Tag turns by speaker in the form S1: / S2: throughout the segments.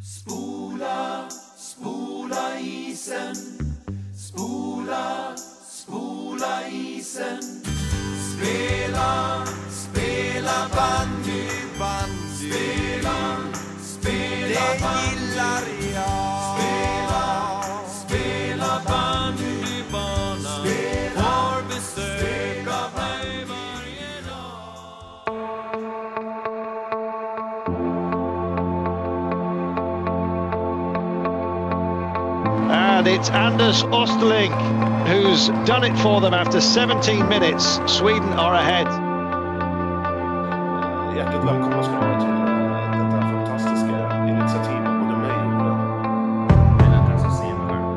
S1: Spola, spola isen. Spola, spola isen. Spela, spela bandy, bandy. Spela, spela Det gillar jag. Spela, spela bandybanan. Har besök av mig varje dag.
S2: And it's Anders Osterling who's done it for them after 17 minutes. Sweden are ahead.
S3: Hjärtligt välkomna ska ni vara till eh, detta fantastiska initiativ av både mig och Ola.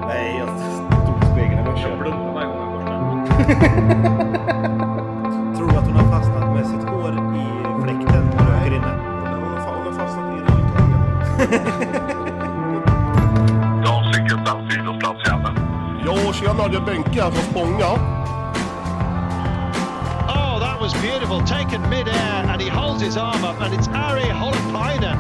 S3: Nej, jag stod i spegeln i morse.
S4: Tror att hon har fastnat med sitt hår i fläkten på röker inne.
S3: Hon har fa- hon har fastnat i rulltåget.
S5: Jag har cykelplats, idrottsplatsjävel.
S3: Ja, tjena, det är Benke här från Spånga.
S2: Oh, that was beautiful. Taken mid-air and he holds his arm up and it's Ari Holpainen.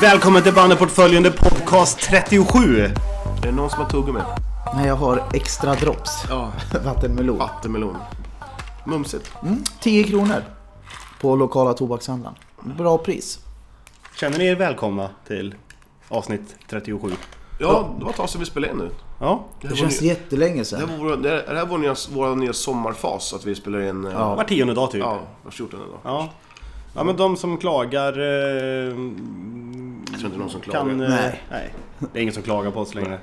S4: Välkommen till Bandyportföljen, det är podcast 37.
S3: Är det någon som har tuggummi?
S6: Nej, jag har extra drops.
S3: Ja.
S6: Vattenmelon.
S3: Vattenmelon. Mumsigt.
S6: 10 kronor på lokala tobakshandeln. Bra pris.
S4: Känner ni er välkomna till avsnitt 37?
S3: Ja, det var ett tag sedan vi spelade in nu.
S4: Ja.
S3: Det här
S6: Det
S3: var
S6: känns
S3: ny-
S6: jättelänge
S3: det
S6: sedan.
S3: här var vår, det här- det här var nya, vår nya sommarfas, att vi spelar in... eh,
S6: Ja.
S4: Var tionde dag typ.
S3: Ja, var 14 idag.
S4: Ja. Ja, men de som klagar... Eh,
S3: Jag tror inte någon som klagar.
S4: kan, eh,
S6: Nej.
S4: nej. Det är ingen som klagar på oss längre.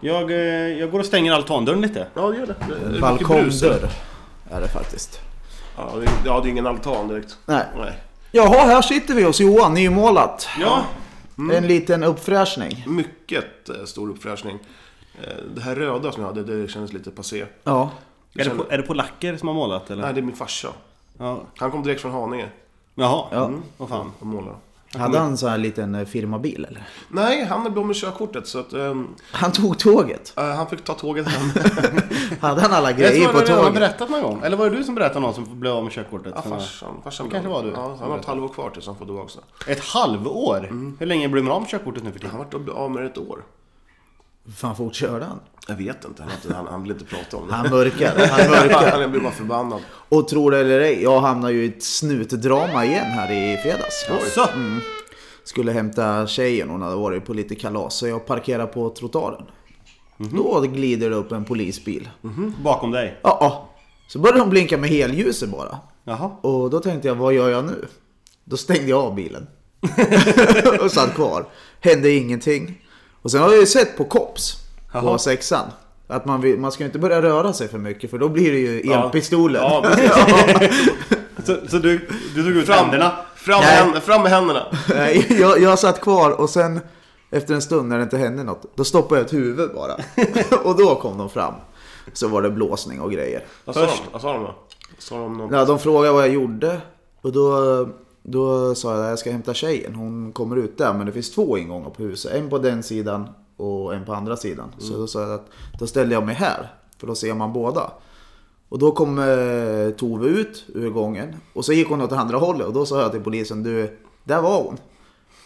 S4: Jag, eh, jag går och stänger altandörren lite.
S3: Ja, det gör det. det. är mycket brus.
S6: Balkongdörr är det faktiskt.
S3: Ja, det är, ja, det är ingen altan direkt.
S6: Nej.
S3: Nej.
S6: Jaha, här sitter vi hos Johan, nymålat.
S4: Ja. Mm.
S6: En liten uppfräschning.
S3: Mycket eh, stor uppfräschning. Eh, Det här röda som jag hade, det kändes lite passé.
S6: Ja.
S4: Är, det på, är det polacker som har målat eller?
S3: Nej, det är min farsa.
S4: Ja.
S3: Han kom direkt från Haninge
S4: Jaha.
S6: Ja.
S4: Mm. Vad fan.
S3: och målade.
S6: Hade han så här liten eh, firmabil eller?
S3: Nej, han blev av med körkortet så att ehm,
S6: Han tog tåget.
S3: eh, han fick ta tåget hem.
S6: Hade han alla
S4: Jag
S6: grejer
S4: tror
S6: på
S4: jag redan har
S6: tåget?
S4: berättat någon gång. Eller var det du som berättade någon som blev av med körkortet?
S3: ja,
S4: Som var-
S3: farsan. farsan
S4: Det kanske
S3: blev-
S4: var du.
S3: Ja, han har ett halvår kvar tills han får tillbaka det.
S4: Ett halvår? Hur länge blir man av med körkortet nu för tiden?
S3: Han har varit av med det ett år.
S6: Fan, fort körde han?
S3: Jag vet inte, han, har inte- han, han vill inte prata om det.
S6: Han mörkar. Han mörkar.
S3: Han blir bara förbannad.
S6: Och tro det eller ej, jag hamnade ju i ett snutdrama igen här i fredags. Mm.
S4: Så.
S6: Skulle hämta tjejen, hon hade varit på lite kalas. Så jag parkerade på trottoaren.
S3: Mhm.
S6: Då glider det upp en polisbil.
S4: Bakom dig?
S6: Ja, ja. Så började hon blinka med helljuset bara.
S4: Jaha.
S6: Och då tänkte jag, vad gör jag nu? Då stängde jag av bilen. och satt kvar. Hände ingenting. Och sen har jag ju sett på COPS,
S4: Jaha.
S6: på sexan. Att man, vill, man ska ju inte börja röra sig för mycket för då blir det ju elpistolen.
S3: Ja, precis.
S4: Så, så du, du tog ut
S3: Fram.
S4: händerna?
S3: Fram, med
S6: Nej.
S3: händerna, fram med händerna!
S6: Nej, jag, jag satt kvar och sen efter en stund när det inte hände något, då stoppade jag ett huvud bara. och då kom de fram. Så var det blåsning och grejer.
S3: Vad sa
S4: Först.
S3: de? Vad sa de då? Sa de något?
S6: Ja, de frågade vad jag gjorde och då, då sa jag att jag ska hämta tjejen. Hon kommer ut där men det finns två ingångar på huset. En på den sidan och en på andra sidan. Så då sa jag att då ställde jag mig här för då ser man båda. Och då kom eh, Tove ut ur gången och så gick hon åt andra hållet och då sa jag till polisen du, där var hon.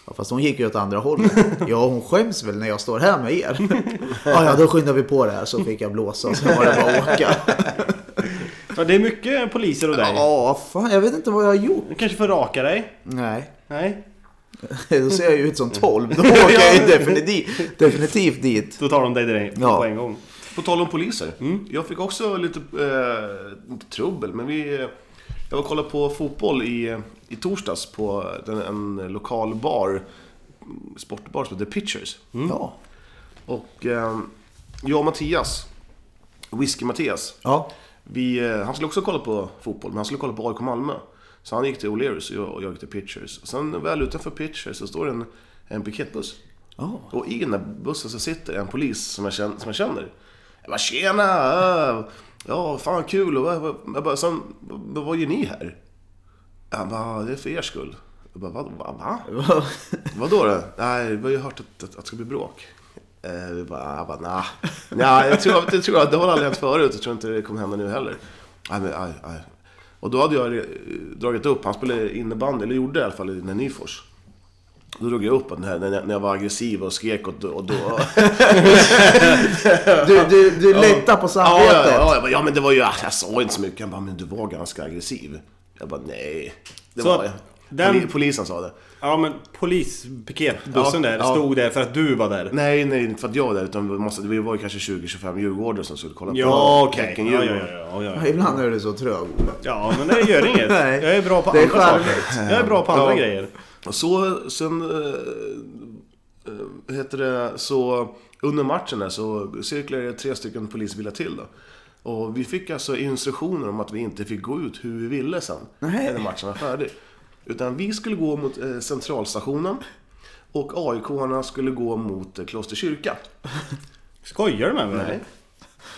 S6: Ja, fast hon gick ju åt andra hållet. Ja, hon skäms väl när jag står här med er. Ja, ja, då skyndar vi på det här så fick jag blåsa och sen var det bara att åka.
S4: Ja, det är mycket poliser och dig.
S6: Ja, fan, jag vet inte vad jag har gjort.
S4: Du kanske får raka dig?
S6: Nej,
S4: Nej?
S6: då ser jag ju ut som 12. Då åker jag ju definitivt, definitivt dit.
S4: Då tar de dig direkt
S6: Ja.
S4: på en gång.
S3: På tal om poliser. Mm. Jag fick också lite, eh, inte trubbel, men vi... eh, Jag var och kollade på fotboll i, i torsdags på den, en lokal bar, mm, sportbar som heter Pitchers.
S6: Ja.
S3: Och eh, jag och Mattias, Whisky-Mattias,
S6: ja.
S3: Vi, eh, han skulle också kolla på fotboll, men han skulle kolla på AIK Malmö. Så han gick till O'Learys och jag, och jag gick till Pitchers. Och sen väl utanför Pitchers så står det en, en piketbuss. Och i den där bussen så sitter en polis som jag känner. Som jag, känner. jag bara “Tjena! eh, Ja, fan kul!” och jag bara- jag bara, sen, “Vad vad gör ni här?” Han bara “Det är för er skull”. Jag bara “Vad? Va?” va? Vadå då? Nej, vi har ju hört att, att, att det ska bli bråk. Eh, vi bara, jag bara, nah. Nja, jag tror, det tror jag, det har aldrig hänt förut. Jag tror inte det kommer hända nu heller. Aj, men, aj, aj. Och då hade jag eh, dragit upp, han spelade innebandy, eller gjorde i alla fall, i Nyfors. Då drog jag upp att när, när jag- när jag var aggressiv och skrek och då... Och då
S6: Du, du, du lättar på
S3: ja,
S6: samvetet.
S3: ja, ja, jag bara, ja, men det var ju... Jag sa inte så mycket. Han bara, men du var ganska aggressiv. Jag bara, nej. Det
S4: Så
S3: var jag.
S4: den-
S3: Poli- Polisen sa det.
S4: Ja men polispiketbussen
S3: Ja,
S4: där
S3: ja.
S4: stod där för att du var där.
S3: Nej, nej, inte för att jag var där. Utan vi, måste, vi var ju kanske 20-25 djurgårdare som skulle kolla
S4: Ja
S3: på
S4: okej.
S3: Häcken
S4: Ja,
S3: Djurgården.
S4: ja, ja, ja,
S6: Ja,
S4: ja.
S6: Ibland är du så trög. Ola.
S4: ja men det gör inget.
S6: Nej.
S4: Jag är bra på
S6: Det är
S4: andra
S6: charmigt.
S4: saker. Jag är bra på andra
S3: Ja.
S4: grejer.
S3: Och så, sen... Eh, eh, heter det, så under matchen där så cirkulerade det tre stycken polisbilar till då. Och vi fick alltså instruktioner om att vi inte fick gå ut hur vi ville sen.
S6: Nej.
S3: När matchen var färdig. Utan vi skulle gå mot eh, centralstationen. Och AIK-arna skulle gå mot eh, Klosterkyrka.
S4: Skojar du med mig? eller?
S3: Nej.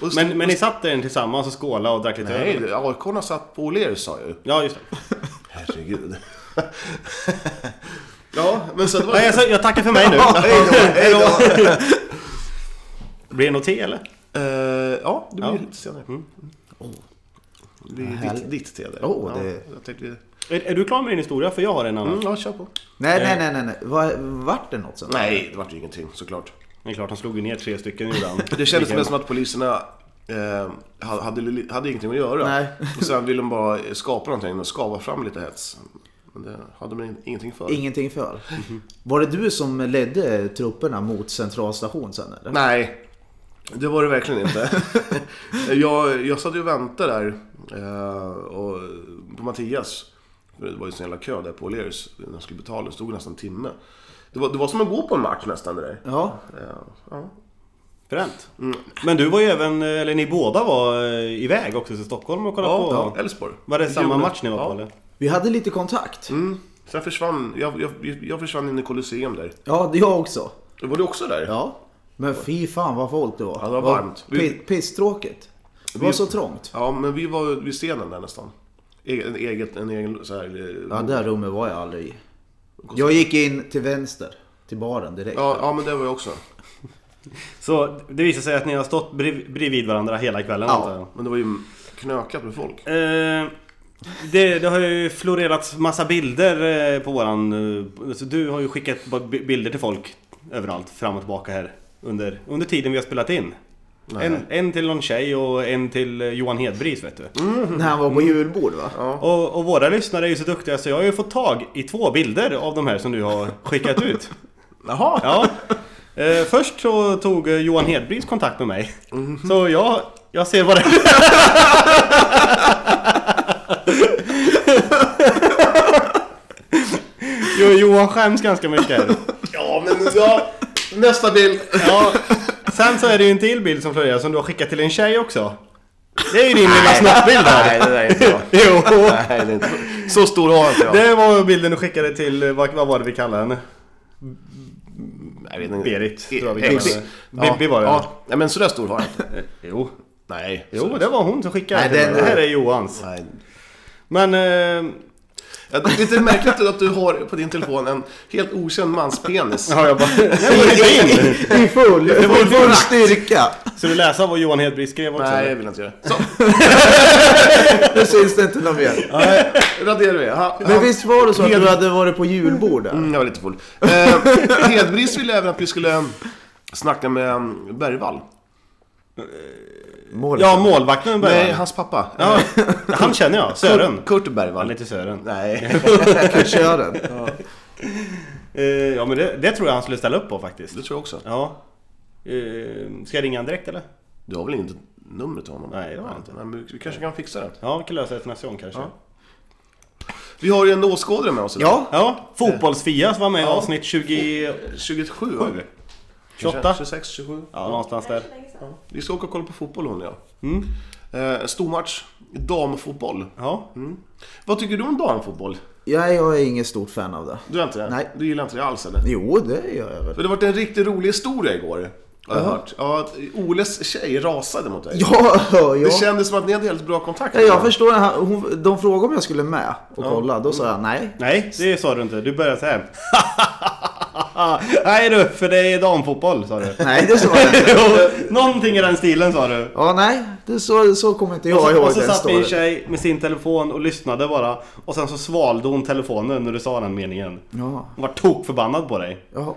S3: Och,
S4: Men, men ni satt där tillsammans och skålade och drack lite
S3: Nej,
S4: öl?
S3: AIK-arna satt på Åhléns sa jag ju.
S4: Ja just det.
S3: Herregud. ja, men så det var...
S4: Nej, jag, jag tackar för mig nu.
S6: Ja, hej då, hej då.
S4: Blir det något te eller?
S3: Eh, ja, det blir
S4: Ja.
S3: lite senare. Det blir
S6: härligt.
S3: ditt, ditt te där.
S6: Åh,
S3: ja,
S6: det-
S3: jag tänkte...
S4: Är, är du klar med din historia? För jag har en annan.
S3: Mm, ja, kör på.
S6: Nej, nej, nej, nej. nej. Var, vart det något sen?
S3: Nej, det vart ju ingenting såklart.
S4: Det är klart, han slog ju ner tre stycken ibland.
S3: Det kändes mest som att poliserna eh, hade, hade, li- hade ingenting att göra.
S6: Nej.
S3: Och sen ville de bara skapa någonting och skava fram lite hets. Men det hade de in- ingenting för.
S6: Ingenting för. Var det du som ledde trupperna mot centralstation sen eller?
S3: Nej, det var det verkligen inte. jag, jag satt ju och väntade där eh, och, på Mattias. För det var ju en jävla kö där på O'Learys när jag skulle betala. Det stod nästan en timme. Det var, det var som att gå på en match nästan det där.
S6: Ja,
S3: Eh, ja.
S4: Fränt. Men du var ju även, eller ni båda var eh, iväg också till Stockholm och kollade
S3: Ja,
S4: på.
S3: Elfsborg.
S4: Var det samma
S3: Jorden.
S4: match ni var på
S3: Ja.
S4: eller?
S6: vi hade lite kontakt.
S3: Mm. Sen försvann jag, jag, jag försvann in i Colosseum där.
S6: Ja, det jag också.
S3: Var du också där?
S6: Ja. Men fy fan vad folk det var.
S3: Ja, det var varmt.
S6: Vad pi- Pisstråkigt. Det var
S3: Vi-
S6: så trångt.
S3: Ja, men vi var vid scenen där nästan. Egen, en eget, en egen så här... eh,
S6: Ja, det här rummet var jag aldrig i. Jag gick in till vänster, till baren direkt.
S3: ja, ja, men det var jag också.
S4: Så det visar sig att ni har stått brev, bredvid varandra hela kvällen
S6: Ja.
S4: antar jag.
S3: Men det var ju knökat med folk.
S4: Eh, det, det har ju florerat massa bilder eh, på våran... eh, Alltså du har ju skickat b- bilder till folk överallt, fram och tillbaka här. Under, under tiden vi har spelat in. En, en till någon tjej och en till eh, Johan Hedbris vet du.
S6: När han var på julbord va?
S4: Och, och våra lyssnare är ju så duktiga så jag har ju fått tag i två bilder av de här som du har skickat ut.
S3: Jaha!
S4: Ja. Eh, först så tog eh, Johan Hedbris kontakt med mig.
S3: Mhm.
S4: Så jag, jag ser vad det är. Jo, Johan skäms ganska mycket här.
S3: Ja, men ja, nästa bild.
S4: Ja. Sen så är det ju en till bild som florerar som du har skickat till en tjej också. Det är ju din lilla snabbbild här.
S3: Nej, det där är inte bra.
S4: Jo.
S3: Nej, det är inte. Så stor har inte jag.
S4: Det var bilden du skickade till, eh, vad, vad var det vi kallade henne?
S3: Jag vet inte.
S4: Berit, tror jag vi
S3: Ex.
S4: kallade henne. Bibi var det. Eh,
S3: Ja, nej, men sådär stor har jag inte.
S4: Jo.
S3: Nej.
S4: Jo, det var hon som skickade.
S6: Nej,
S4: till mig.
S6: den-
S4: det här är Johans.
S3: Nej.
S4: Men... Eh,
S3: Ja, Det är lite märkligt att du har på din telefon en helt okänd mans penis.
S4: Ja, jag bara...
S6: I full, i
S4: var ju
S6: full
S4: frakt.
S6: styrka.
S4: Så du läsa vad Johan Hedberg skrev också?
S3: Nej,
S4: eller?
S3: jag vill inte göra det. Så,
S6: Nu syns det inte något mer.
S3: raderar vi. Ha,
S6: Men
S3: ha.
S6: visst var det så att du hade varit på julbord där?
S3: Mm, jag var lite full. Eh, Hedbris ville även att vi skulle mm, snacka med um, Bergvall.
S6: Målet.
S4: Ja, målvakten började.
S3: Nej,
S4: Nej, han...
S3: hans pappa.
S4: Ja, han känner jag. Sören.
S3: Kurt
S4: Han
S3: Bergvall.
S4: heter Sören.
S3: Nej.
S6: Kören.
S4: Eh, ja, men det, det tror jag han skulle ställa upp på faktiskt.
S3: Det tror jag också.
S4: Ja. Eh, ska jag ringa han direkt eller?
S3: Du har väl inget nummer till honom?
S4: Nej, det har jag inte.
S3: Nej, men vi kanske kan fixa det.
S4: Ja, vi kan lösa det till nästa gång kanske. Ja,
S3: Vi har ju en åskådare med oss idag.
S6: Ja,
S4: Fotbolls-Fia som var med i
S3: Ja.
S4: avsnitt 20...
S3: 27 har vi.
S4: 28.
S3: 26, 27.
S4: Ja, någonstans där.
S6: Mm.
S3: Vi ska åka och kolla på fotboll hon och jag. Eh, stormatch, damfotboll. Mm.
S4: Ja.
S3: Vad tycker du om damfotboll?
S6: Ja, jag är ingen stort fan av det.
S3: Du är inte det?
S6: Nej.
S3: Du gillar inte det alls eller?
S6: Jo, det gör jag väl.
S3: För det har varit en riktigt rolig historia igår. Har jag hört. Ja, att Oles tjej rasade mot dig.
S6: Ja, ja.
S3: Det kändes som att ni hade helt bra kontakt.
S6: Ja, jag förstår. Han- Hon, de frågade om jag skulle med och kolla. Då sa jag nej.
S4: Nej, det sa du inte. Du började så här. Nej du, för det är damfotboll sa du.
S6: Nej, det sa jag inte.
S4: Jo, Någonting i den stilen sa du.
S6: Ja, nej. Det, så, så kommer inte jag
S4: Och så,
S6: ihåg
S4: och så
S6: den
S4: satt
S6: storyn.
S4: min tjej med sin telefon och lyssnade bara. Och sen så svalde hon telefonen när du sa den meningen.
S6: Ja,
S4: Hon var tokförbannad på dig.
S6: ja,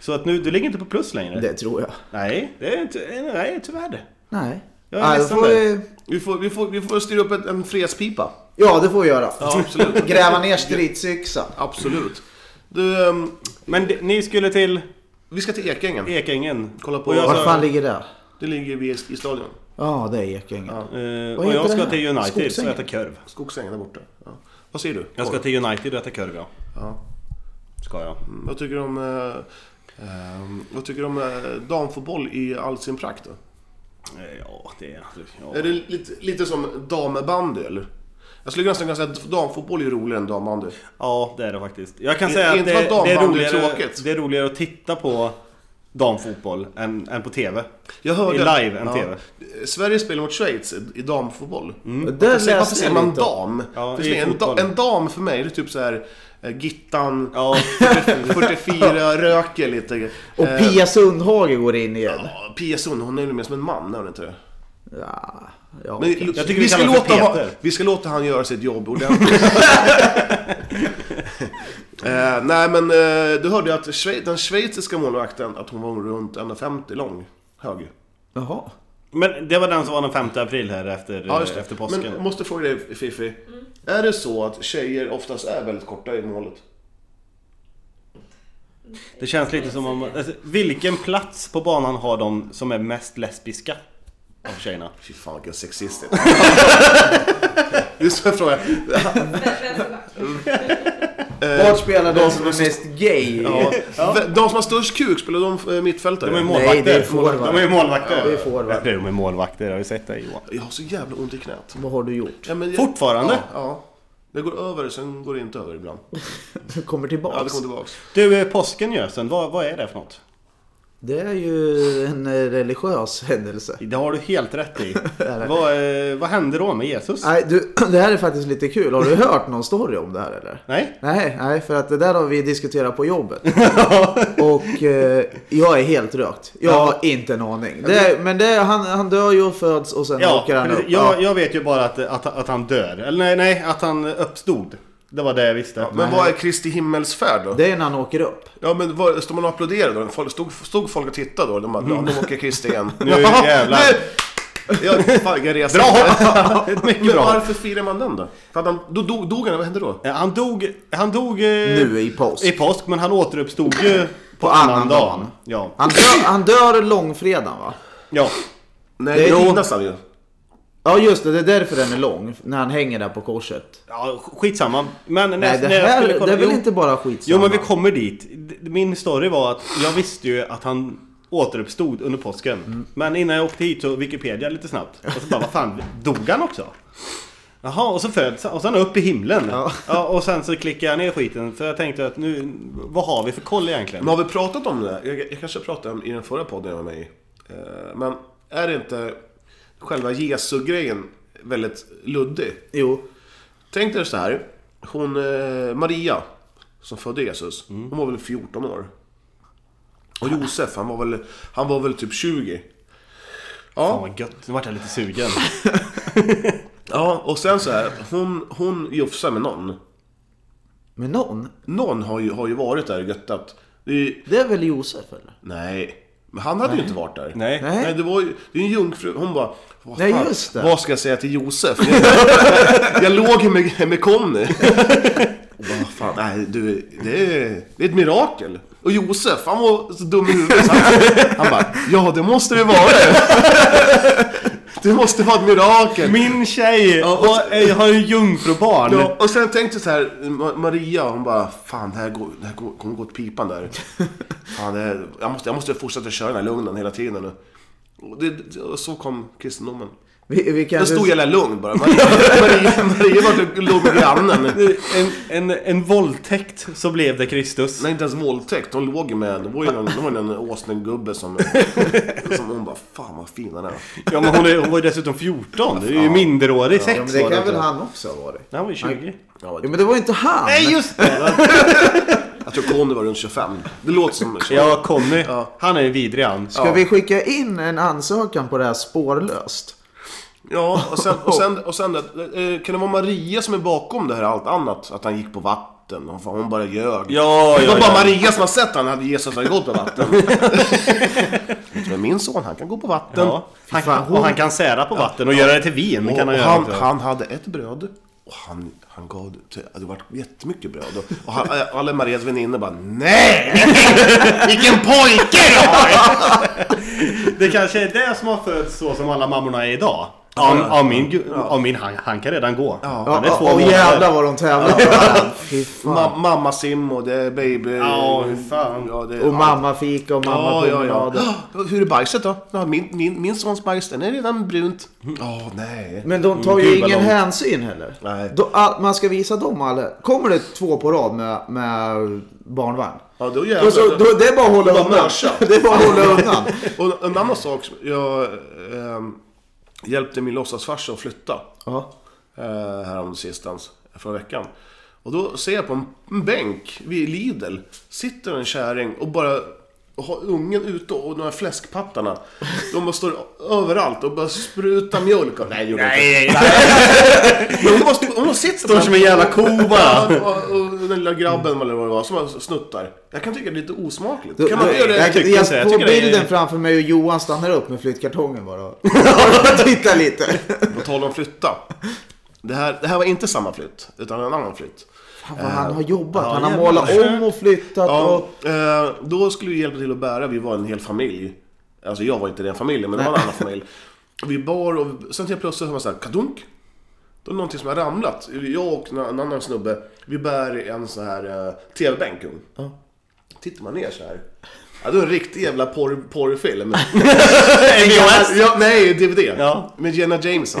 S4: Så att nu, du ligger inte på plus längre.
S6: det tror jag.
S4: Nej, det är inte, nej, tyvärr.
S6: Nej.
S4: Jag är
S6: Nej,
S4: ledsen
S6: får
S4: där.
S6: vi-
S3: Vi får, vi, får, vi får styra upp en, en fredspipa.
S6: Ja, det får vi göra.
S3: absolut.
S6: Gräva ner stridsyxan.
S3: Absolut. Du, ehm,
S4: Men det- ni skulle till
S3: vi ska till
S4: E-
S3: Ekängen.
S4: Ekängen.
S3: Kolla på-
S4: Och jag,
S3: Alltså-
S6: Var fan
S4: ska,
S6: ligger det?
S3: Det ligger vid i stadion.
S6: Ja, det är Ekängen.
S4: eh,
S6: Vad
S4: och
S6: heter
S4: jag ska
S6: det här?
S4: till United och
S6: Skogsängen?
S4: äta korv.
S3: Skogsängen där borta. Ja. Vad säger du?
S4: Jag ska
S3: Korv.
S4: till United och äta korv ja.
S3: Ja.
S4: Ska jag.
S3: Mm, Vad tycker du om... Eh, ehm, vad tycker du om eh, damfotboll i all sin prakt då?
S4: Eh, Ja, det är... Ja.
S3: Är det lite, lite som dambandy eller? Jag skulle nästan kunna säga att damfotboll är roligare än dambandy.
S4: Ja, det är det faktiskt. Jag kan
S3: I-
S4: säga att
S3: inte
S4: det,
S3: för att
S4: det, är
S3: dambandy är
S4: roligare,
S3: tråkigt.
S4: det är roligare att titta på damfotboll än, än på TV.
S3: Jag hörde...
S4: I live än TV.
S3: Sverige spelar mot Schweiz i- i damfotboll.
S6: Mm.
S3: Varför säger- varför säger man
S6: lite om.
S3: dam?
S4: Ja,
S3: För
S4: i
S3: mig, en, da,
S4: fotboll.
S3: en dam för mig, det är typ så här eh, Gittan,
S4: Ja,
S3: 44, röker lite.
S6: Och
S3: Eh,
S6: Pia Sundhage går in igen.
S3: ja, Pia Sund, hon är ju mer som en man, är hon inte det?
S6: Ja, ja,
S3: Men,
S6: okej.
S4: Jag tycker vi
S3: ska
S4: kallar
S3: låta
S4: för
S3: ha,
S4: Peter.
S3: vi ska låta han göra sitt jobb ordentligt. eh, nej men eh, du hörde ju att Schwe- den schweiziska målvakten, att hon var runt 1,50 lång. Hög.
S6: Jaha.
S4: men det var den som var den 5 april här efter,
S3: Ja, just det.
S4: efter påsken.
S3: Eh, Men jag måste fråga dig Fifi. Är det så att tjejer oftast är väldigt korta i målet?
S4: Det känns lite som om... Alltså, vilken plats på banan har de som är mest lesbiska? Av tjejerna.
S3: Fy fan vilken sexist det är. Det är så jag frågar. Eh,
S6: Vart spelar de som är mest gay?
S3: De som har störst kuk, spelar de eh, mittfältare?
S4: De är målvakter.
S6: Nej, det är forward.
S4: De är ju målvakter.
S6: Ja, det är forward.
S4: De är målvakter, jag har ju sett det Johan.
S3: Jag har så jävla ont i knät.
S6: Vad har du gjort?
S3: Ja, men jag-
S4: Fortfarande?
S3: Ja, ja. Det går över, sen går det inte över ibland.
S6: Du kommer tillbaks.
S3: Ja, det kommer tillbaks.
S4: Du, eh, påsken Jösen, vad, vad är det för något?
S6: Det är ju en eh, religiös händelse.
S4: Det har du helt rätt i. vad, eh, vad hände då med Jesus?
S6: Nej, du, det här är faktiskt lite kul. Har du hört någon story om det här eller?
S4: Nej?
S6: Nej, nej, för att det där har vi diskuterat på jobbet. och eh, jag är helt rökt. Jag har inte en aning. Det, är- men det, är- han, han dör ju och föds och sen
S4: Ja,
S6: åker han
S4: precis.
S6: upp.
S4: jag, jag vet ju bara att, att, att han dör. Eller nej, nej, att han uppstod. Det var det jag visste.
S3: Men vad är Kristi himmelsfärd då?
S6: Det är när han åker upp.
S3: Ja men vad, står man och applåderar då? Folk- Stod, stod folk och tittade då? De bara, ja, nu åker Kristi igen.
S4: Nu jävlar.
S3: Ja, fan vilken resa.
S4: Bra hopp! Ett
S3: Men
S4: Mycket bra.
S3: varför firar man den då? För att han, då dog, dog han, vad hände då?
S4: Eh, Han dog... Han dog... eh,
S6: Nu i påsk.
S4: I påsk, men han återuppstod ju på,
S6: På
S4: annandagen.
S6: annandagen.
S4: Ja.
S6: Han dör, han dör långfredagen va?
S4: ja.
S3: Nej, det
S6: Jo.
S3: hinnas han ju.
S6: Ja just det, det är därför den är lång. När han hänger där på korset.
S4: Ja, skitsamma. Men när,
S6: Nej, det
S4: när jag
S6: här
S4: skulle
S6: det
S4: kolla-
S6: är väl
S4: jo,
S6: inte bara skitsamma?
S4: Jo, men vi kommer dit. D- Min story var att jag visste ju att han återuppstod under påsken.
S6: Mm.
S4: Men innan jag åkte hit så Wikipedia lite snabbt. Och så bara, vad fan, dog han också? Jaha, och så föds han. Och sen upp i himlen. Ja.
S6: Ja.
S4: och sen så klickade jag ner skiten. För jag tänkte att nu, vad har vi för koll egentligen?
S3: Men har vi pratat om det? där? Jag, jag kanske pratade om i den förra podden jag var med i. Eh, Men är det inte själva Jesu-grejen väldigt luddig?
S6: Jo.
S3: Tänk dig så här. Hon, eh, Maria, som födde Jesus, hon var väl 14 år. Och Josef, han var väl, han var väl typ 20.
S4: Fan
S3: Ja,
S4: vad gött, nu vart jag lite sugen.
S3: ja och sen så här. Hon, hon jufsar med någon.
S6: Men någon?
S3: Någon har ju, har ju varit där i Göttat. Det är, ju-
S6: Det är väl Josef eller?
S3: nej, men han hade ju inte varit där.
S4: Nej.
S6: Nej.
S3: Nej, det var ju det är en jungfru. Hon bara... Vad,
S6: Nej,
S3: fan,
S6: just det.
S3: vad ska jag säga till Josef? Jag, jag låg med, med Conny. Och bara, fan, nej, du, det, är, det är ett mirakel. Och Josef, han var så dum i huvudet. Så han, han bara, ja det måste det vara. Det måste vara ett mirakel.
S4: Min tjej och, eh, har ju jungfrubarn.
S3: Ja, och sen tänkte jag så här, Ma- Maria hon bara Fan det här, går, det här går, kommer gå åt pipan där. Fan, det här, jag, måste, jag måste fortsätta köra den här lugnen hela tiden nu. Och, det, och så kom kristendomen.
S6: Vi, vi
S3: En
S6: kanske...
S3: stor jävla lugn bara. Maria, Maria, Maria var och låg med grannen.
S4: En, en, en våldtäkt så blev det Kristus.
S3: Nej, inte ens våldtäkt. Hon låg ju med... Det var ju någon, det var ju någon åsnegubbe som... Som hon bara, fan vad fin han är.
S4: Ja, men hon, är, hon var ju dessutom 14. Det är ju minderårig sex.
S6: Ja, men det kan väl han också ha varit?
S4: Nej, hon var ju 20.
S3: Ja,
S6: Ja, men det var ju inte han!
S4: Nej, just det!
S3: jag tror Conny var runt 25. Det låter som...
S4: Ja, Conny. Han är ju vidrig han.
S6: Ska vi skicka in en ansökan på det här spårlöst?
S3: Ja, och sen, och sen, och sen eh, kan det vara Maria som är bakom det här allt annat? Att han gick på vatten och fan, hon bara ljög.
S4: Ja,
S3: det
S4: ja,
S3: var
S4: ja.
S3: bara Maria som har sett han hade Jesus hade gått på vatten. Men min son, han kan gå på vatten.
S4: Ja. Han, och han kan sära på vatten och göra det till vin.
S3: Och,
S4: kan han,
S3: och
S4: göra
S3: han,
S4: också.
S3: han hade ett bröd. Och han, han gav det till, det var jättemycket bröd. Och- Och han, eh, alla Marias väninnor bara NEJ! Vilken pojke du har!
S4: Det kanske är det som har fötts så som alla mammorna är idag. Am, Amin, gu- Amin han, han kan redan gå.
S6: Ja,
S4: Han är två
S6: ja, och
S4: månader.
S6: jävlar vad de tävlar med varandra. Fy
S3: Ma,
S6: fan.
S3: mamma Sim och det är baby...
S4: Ja, hur fan.
S3: Ja, det,
S6: Och mammafika och mammapromenader.
S3: ja. Hur är bajset då? Ja, min, min, min sons bajs, den är redan brunt. Ja, nej.
S6: Men de tar ju
S3: Gud, vad
S6: ingen
S3: långt.
S6: hänsyn heller.
S3: Nej.
S6: Då, all, man ska visa dem alla. Kommer det två på rad med, med barnvagn.
S3: Ja, då
S6: Då, så, då, det är bara att hålla
S3: De
S6: undan.
S3: mörsar.
S6: Det är bara att hålla undan.
S3: Och en annan sak, som- jag ehm, hjälpte min låtsasfarsa att flytta.
S6: Ja.
S3: Eh, härom sistens, förra veckan. Och då ser jag på en, en bänk vid Lidl, sitter en kärring och bara har ungen ute och de här fläskpattarna. De bara står överallt och bara sprutar mjölk. Och, nej, det gjorde jag inte.
S4: Nej, nej, nej.
S3: Men hon, bara, hon sitter
S4: Står som en jävla ko bara.
S3: Ja, och, och den lilla grabben eller vad det var som bara snuttar. Jag kan tycka det är lite osmakligt.
S6: Då,
S3: kan man
S6: då-
S3: inte göra det?
S6: jag,
S4: tycker
S6: jag,
S4: inte det. Jag
S6: får
S4: tycker det är-
S6: bilden framför mig och Johan stannar upp med flyttkartongen bara. och Titta lite.
S3: På tal om flytta. Det här, det här var inte samma flytt, utan en annan flytt.
S6: Fan vad han har jobbat.
S4: ja,
S6: han har
S4: jävlar.
S6: målat om och flyttat
S3: Ja,
S6: och...
S3: eh, då skulle vi hjälpa till att bära, vi var en hel familj. Alltså jag var inte den familjen, men det var en annan familj. Och Vi bar och vi- sen helt plötsligt hör man så här kadunk. Då är det någonting som har ramlat. Jag och en en annan snubbe, vi bär en så här eh, TV-bänk. ung. Tittar man ner så här. Ja, det är en riktig jävla porr, porrfilm.
S4: VHS.
S3: ja, nej, DVD.
S4: Ja.
S3: Med Jenna Jameson.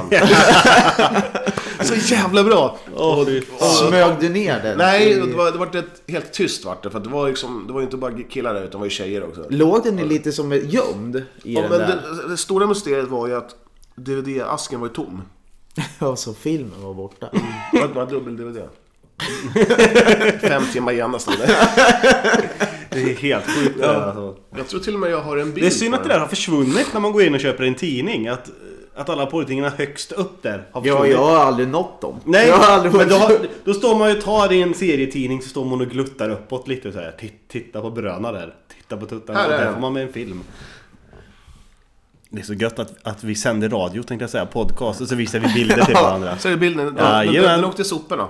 S3: så jävla bra!
S4: Åh, fy fan.
S6: Smög du ner den?
S3: Nej,
S6: i-
S3: det var, det var ett, helt tyst vart det. För att det var liksom, det var ju inte bara killar där, utan det var ju tjejer också.
S6: Låg den i lite som en- gömd i
S3: Ja,
S6: den
S3: men
S6: där?
S3: det, det stora mysteriet var ju att DVD-asken var ju tom.
S6: Ja, så filmen var borta.
S3: Det var bara dubbel-DVD. Fem timmar gärna stod det.
S4: Det är helt sjukt det där, alltså.
S3: Jag tror till och med jag har en bild
S4: Det är synd
S3: på
S4: att det där har försvunnit när man går in och köper en tidning. Att, att alla porrtidningarna högst upp där har
S6: Ja,
S4: försvunnit.
S6: jag har aldrig nått dem.
S4: Nej,
S6: jag har aldrig
S4: men då,
S6: varit-
S4: har, då står man ju och tar i en serietidning så står man och gluttar uppåt lite och säger "Titt- Titta på bröna där, titta på tuttarna,
S3: Här
S4: och
S3: är
S4: där
S3: den.
S4: får man med en film. Det är så gött att, att vi sänder radio tänkte jag säga, podcast, och så visar vi bilder till varandra.
S3: Så är det bilden. Den, den, den,
S4: Jajamän.
S3: den åkte i soporna.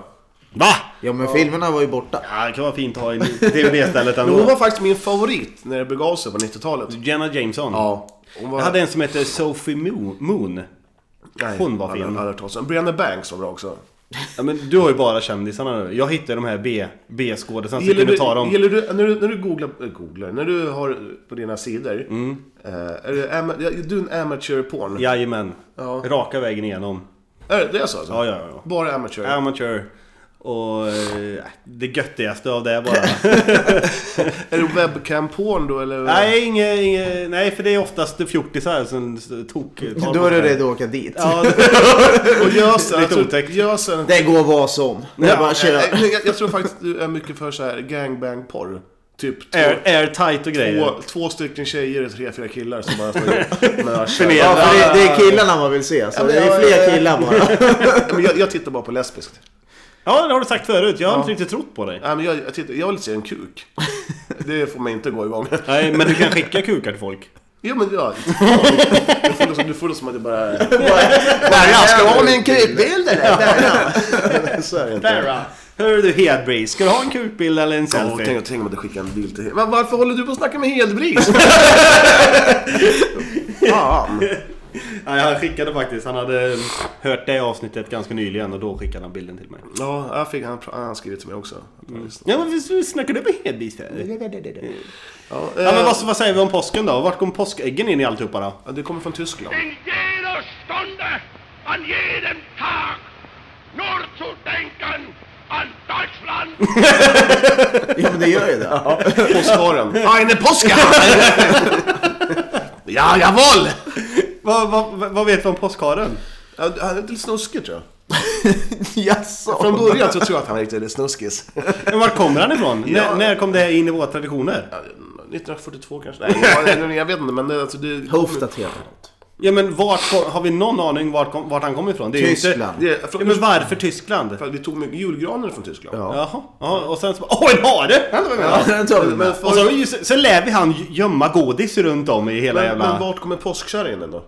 S4: Va?
S6: Ja, men filmerna var ju borta.
S4: Ja, det kan vara fint att ha i DVD-stället
S3: Men hon
S4: ändå.
S3: var faktiskt min favorit när det begav sig på 90-talet.
S4: Jenna Jameson.
S3: Ja. Hon var...
S4: Jag hade en som hette Sophie Mo- Moon.
S3: Nej,
S4: hon var fin.
S3: hade- hade hört talas om. Brianna Banks var bra också.
S4: Ja, men du har ju bara kändisarna nu. Jag hittar de här B- B-skådisarna så jag
S3: Gillar
S4: kunde
S3: du,
S4: ta dem.
S3: gillar du, när du, när du googlar, eh, googlar, när du har på dina sidor.
S4: Mm.
S3: Eh, är du, ama, ja, du är en amateur porn?
S4: Jajamän.
S3: Ja.
S4: Raka vägen igenom.
S3: Är det, det är så alltså?
S4: Ja, ja, ja.
S3: Bara amateur?
S4: Amateur. Och eh, det göttigaste av det bara.
S3: Är det webcam-porn då eller?
S4: nej, inge, inge, nej, för det är oftast fjortisar som tok... tar
S6: Då är du
S4: på sig.
S6: redo att åka dit.
S4: Ja,
S3: Och gösen, Alltså, jag
S4: Lite
S3: tror,
S4: otäckt.
S3: gösen,
S6: Det går vad som. Det är
S4: Ja,
S6: bara att köra.
S3: Nej, nej, eh, jag, jag tror faktiskt du är mycket för så här gangbang-porr. Typ två,
S4: air, airtight och grejer.
S3: två, två stycken tjejer och tre, fyra killar som bara står med arslet.
S6: Ja, för det, det är killarna man vill se. Så
S3: men
S6: det är
S3: jag-
S6: fler
S3: jag-
S6: killar bara.
S3: Ja, men jag, jag tittar bara på lesbiskt.
S4: Ja, det har du sagt förut. Jag har inte riktigt trott på dig.
S3: Nej, men jag, jag, tittar, jag vill se en kuk. Det får mig inte gå igång.
S4: Nej, men du kan skicka kukar till folk.
S3: Jo men ja, du får liksom, du får det som att det bara är...
S6: Nej, jag
S3: ska ha min
S6: krypbild eller?
S3: Så är det inte.
S4: Bara. Hör du Hedberg, ska du ha en kukbild eller en
S3: Ja,
S4: selfie?
S3: tänk, tänk om jag hade skickat en bild till Men Varför håller du på att snacka med Hedbris? Fan.
S4: Nej, han skickade faktiskt. Han hade mm, hört det avsnittet ganska nyligen och då skickade han bilden till mig.
S3: Ja, jag fick, han, han har skrivit till mig också.
S4: Ja, men vi snackar du med Hedberg för?
S3: Ja,
S4: Ja, men
S3: eh,
S4: vad, vad säger vi om påsken då? Vart kom påskäggen in i alltihopa då?
S3: Ja, det kommer från Tyskland.
S5: In jeder Stunde an jedem Tag nur zu denken an Deutschland.
S6: Ja men det gör ju det.
S3: Påskharen. Eine Påskharen! ja, jawohl!
S4: Vad, vad, vad vet vi om påskharen?
S3: Ja, Han är lite snuskig tror jag.
S6: Jaså?
S3: Från början så tror jag att han är lite snuskis.
S4: Men var kommer han ifrån?
S3: Ja.
S4: När, när kom det in i våra traditioner?
S3: 1942 kanske? Nej, jag, jag vet inte men det, alltså, det,
S6: Höftdaterad.
S4: Ja men vart, kom- har vi någon aning vart, kom, vart han kommer ifrån? Det är ju inte-
S6: Tyskland.
S3: det,
S4: Ja,
S3: från,
S4: men varför Tyskland?
S3: för att vi tog mycket julgranar från Tyskland.
S6: Ja.
S4: Jaha, ja, och sen så bara, åh en hare!
S6: Ja, den tar vi med.
S4: Och så, så lär vi han gömma godis runt om i hela
S3: Men,
S4: jävla...
S3: men vart kommer påskkärringen då?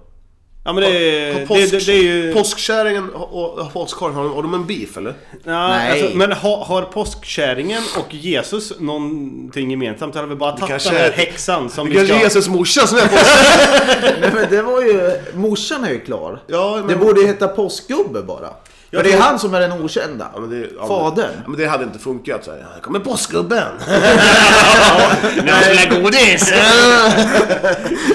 S4: ja men det, Eh, det,
S3: Har påsk-
S4: det, det är ju...
S3: Påskkärringen och, och påskharen, har, de- har de en beef eller?
S4: Ja,
S6: Nej.
S4: Alltså, men har, har påskkärringen och Jesus någonting gemensamt? Eller har vi bara tagit
S3: kanske
S4: den här
S3: är-
S4: häxan som
S3: Det
S4: vi
S3: kanske
S4: ska...
S3: är Jesus morsa som är påsk...
S6: Nej men det var ju... Morsan är ju klar.
S3: Ja, men-
S6: Det borde ju heta påskgubbe bara. För det är han som är den okända.
S3: Ja, men det- ja, men-
S6: Fadern.
S3: Ja, men det hade inte funkat såhär. Här kommer påskgubben!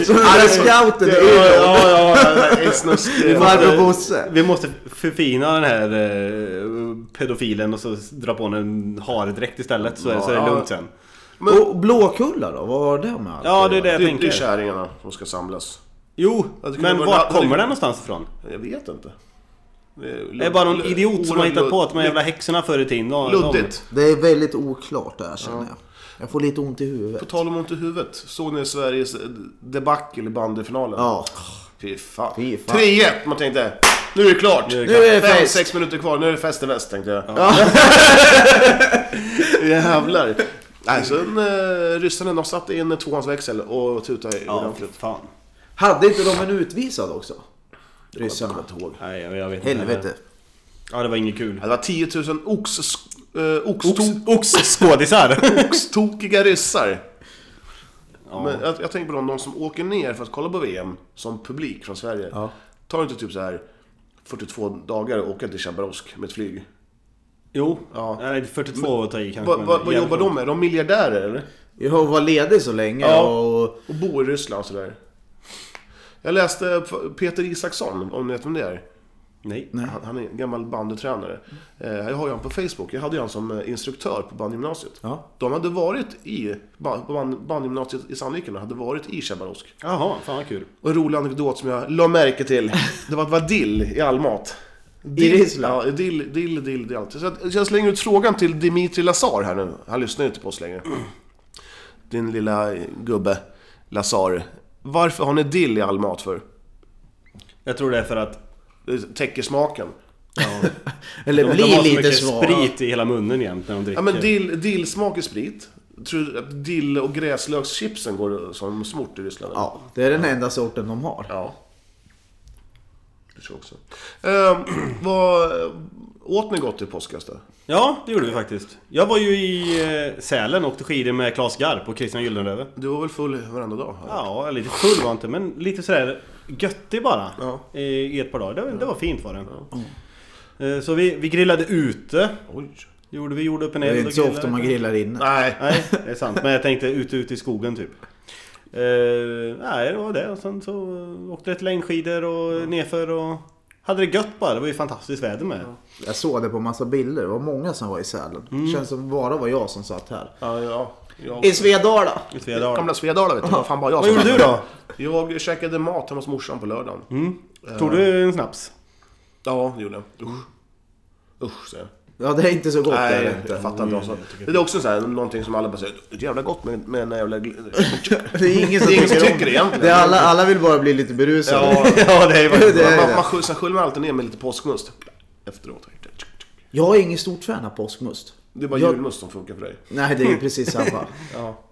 S6: Som den där scouten i
S3: Ja,
S6: Umeå.
S3: ja, ja, en snuskig...
S6: Farbror Bosse.
S4: Vi måste förfina den här eh, pedofilen och så dra på honom en haredräkt istället så, är- så är det
S3: Ja.
S4: lugnt sen.
S6: Och Blåkulla då? Vad har det med allt
S4: Ja,
S6: att
S4: det är det
S6: göra?
S4: jag
S3: Det är- det är
S4: tänker.
S3: kärringarna som ska samlas.
S4: Jo,
S3: Ja, det kan
S4: men
S3: vara-
S4: var
S3: det-
S4: kommer den någonstans ifrån?
S3: Jag vet inte. Det är,
S4: Det är bara någon idiot som har hittat på att de här jävla
S3: jävla
S4: häxorna förr i tiden. de-
S3: Luddigt.
S6: Det är väldigt oklart det här känner jag. Jag får lite ont i huvudet.
S3: På tal om ont i huvudet. Såg ni Sveriges eh, debacle i bandyfinalen?
S6: Ja.
S3: Fy fan.
S6: Fy fan.
S3: 3-1 man tänkte. Nu är det klart. Nu
S6: det klart. Nu är det fest.
S3: 6 minuter kvar. Nu är det fest i väst tänkte jag. Jävlar. Nej, sen eh, ryssarna de satte in tvåans växel och tutade
S4: de- Ja,
S3: ordentligt.
S4: fan.
S6: Hade inte de en utvisad också? Ryssarna.
S4: Nej, jag jag vet inte.
S6: Helvete.
S4: Ja, det var inget kul.
S3: Det var 10 000 ox, eh,
S4: Ox,
S3: oxtok,
S4: oxskådisar.
S3: oxtokiga ryssar. Men jag, jag tänker på de, de som åker ner för att kolla på VM som publik från Sverige. Tar inte typ så här 42 dagar och åker till Chabarovsk med ett flyg?
S4: jo,
S3: Ja.
S4: nej, 42 att ta i kanske.
S3: Vad
S4: men
S3: vad- vad
S4: jävligt
S3: jobbar
S4: många.
S3: de med? Är de miljardärer eller?
S6: Jag har varit ledig så länge
S3: Ja.
S6: och...
S3: Och bor i Ryssland och sådär. Jag läste P- Peter Isaksson, om ni vet vem det är.
S4: Nej.
S3: Han, han är en gammal bandytränare. Eh, jag har ju honom på Facebook. Jag hade ju honom som eh, instruktör på bandgymnasiet.
S6: Ja.
S3: De hade varit i ba- på band, bandgymnasiet i Sandviken och hade varit i Chabarovsk.
S4: Jaha, fan vad kul.
S3: Och en rolig anekdot som jag la märke till. Det var att det var dill i all mat.
S6: Ryssland?
S3: Ja, dill, dill, dill, dill. Så jag, jag slänger ut frågan till Dimitri Lazar här nu. Han lyssnar ju inte på oss längre. Din lilla gubbe, Lazar. Varför har ni dill i all mat för?
S4: Jag tror det är för att
S3: Det täcker smaken.
S6: Eller
S4: de, de
S6: blir
S4: har så
S6: lite
S4: mycket
S6: svag.
S4: sprit i hela munnen jämt när de dricker.
S3: Ja men dill, dillsmak är sprit. Tror du att dill och gräslökschipsen går som smort i Ryssland? eller?
S6: Ja, det är den enda sorten de har.
S3: Ja. Det tror jag också. Ehm, vad, åt ni gott i påskas då?
S4: Ja, det gjorde vi faktiskt. Jag var ju i eh, Sälen och åkte skidor med Claes Garp och Christian Gyldenlöve.
S3: Du var väl full varenda dag? eller?
S4: Ja, lite full var jag inte, men lite sådär göttig bara.
S3: Ja.
S4: I, I ett par dagar. Det, var- det var fint var det. Eh, Så vi, vi grillade ute.
S3: Oj.
S4: Gjorde vi gjorde upp en
S6: Det är
S4: eld
S6: inte
S4: och
S6: så
S4: grillade.
S6: ofta man grillar inne.
S3: Nej.
S4: Nej, det är sant. Men jag tänkte ute, ute i skogen typ. Eh, nej, det var det. Och sen så åkte jag till längdskidor och nerför och... Hade det gött bara. Det var ju fantastiskt väder med.
S6: Jag såg det på massa bilder. Det var många som var i Sälen.
S3: Mm.
S6: Det känns som bara var jag som satt här.
S3: Ja, ja. Jag...
S6: I Svedala!
S4: I flera dagar.
S3: Gamla Svedala vet du. Det var fan bara jag
S4: Vad
S3: som-
S4: gjorde du då?
S3: Jag käkade mat hemma hos morsan på lördagen.
S4: Tog du en snaps?
S3: Ja, det gjorde jag. Usch. Usch säger jag.
S6: Ja, det är inte så gott är
S3: Nej,
S6: det inte.
S3: jag fattar inte. vad som- Det är också så här, någonting som alla bara säger. Det är jävla gott med, med den här jävla... gl-
S6: Det är ingen som
S3: Det är ingen som
S6: tycker om
S3: tycker det
S6: det.
S3: egentligen.
S6: det är alla, alla vill bara bli lite berusade.
S3: Ja.
S4: ja, det är
S6: Det är det.
S3: Man, man, sköljer- sen sköljer man alltid ner med lite påskmust. Efteråt.
S6: Jag är ingen stort fan av påskmust.
S3: Det är bara
S6: Jag-
S3: julmust som funkar för dig.
S6: Nej, det
S3: Mm.
S6: är ju precis samma.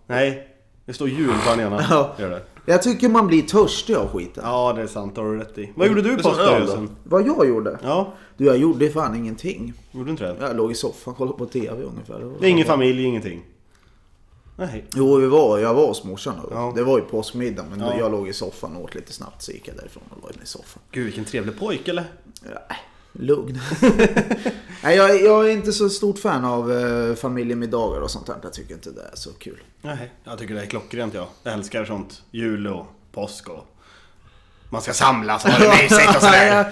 S4: Nej, det står jul på den ena.
S6: Ja.
S4: Gör det.
S6: Jag tycker man blir törstig av skiten.
S4: Ja, det är sant. Mm. Det har du rätt i. Vad gjorde du på
S3: sån öl då?
S4: påskdagen?
S6: Vad jag gjorde?
S4: Ja,
S6: Du, jag gjorde fan ingenting.
S4: gjorde inte det?
S6: Jag låg i soffan, kollade på TV ungefär. Det var-
S4: Det är ingen familj, ingenting. Nej.
S6: Jo, vi var, jag var hos morsan då.
S4: Ja.
S6: Det var ju påskmiddag, men
S4: Ja.
S6: jag låg i soffan och åt lite snabbt, så gick jag därifrån och la mig i soffan.
S4: Gud, vilken trevlig pojk, eller?
S6: Nej, lugn. Nej, jag, jag är inte så stort fan av eh, familjemiddagar och sånt där. Jag tycker inte det är så kul.
S4: Nej, jag tycker det är klockrent jag. Jag älskar sånt. Jul och påsk och... Man ska samlas och ha det mysigt och
S6: Ja,
S4: sådär.
S6: jag,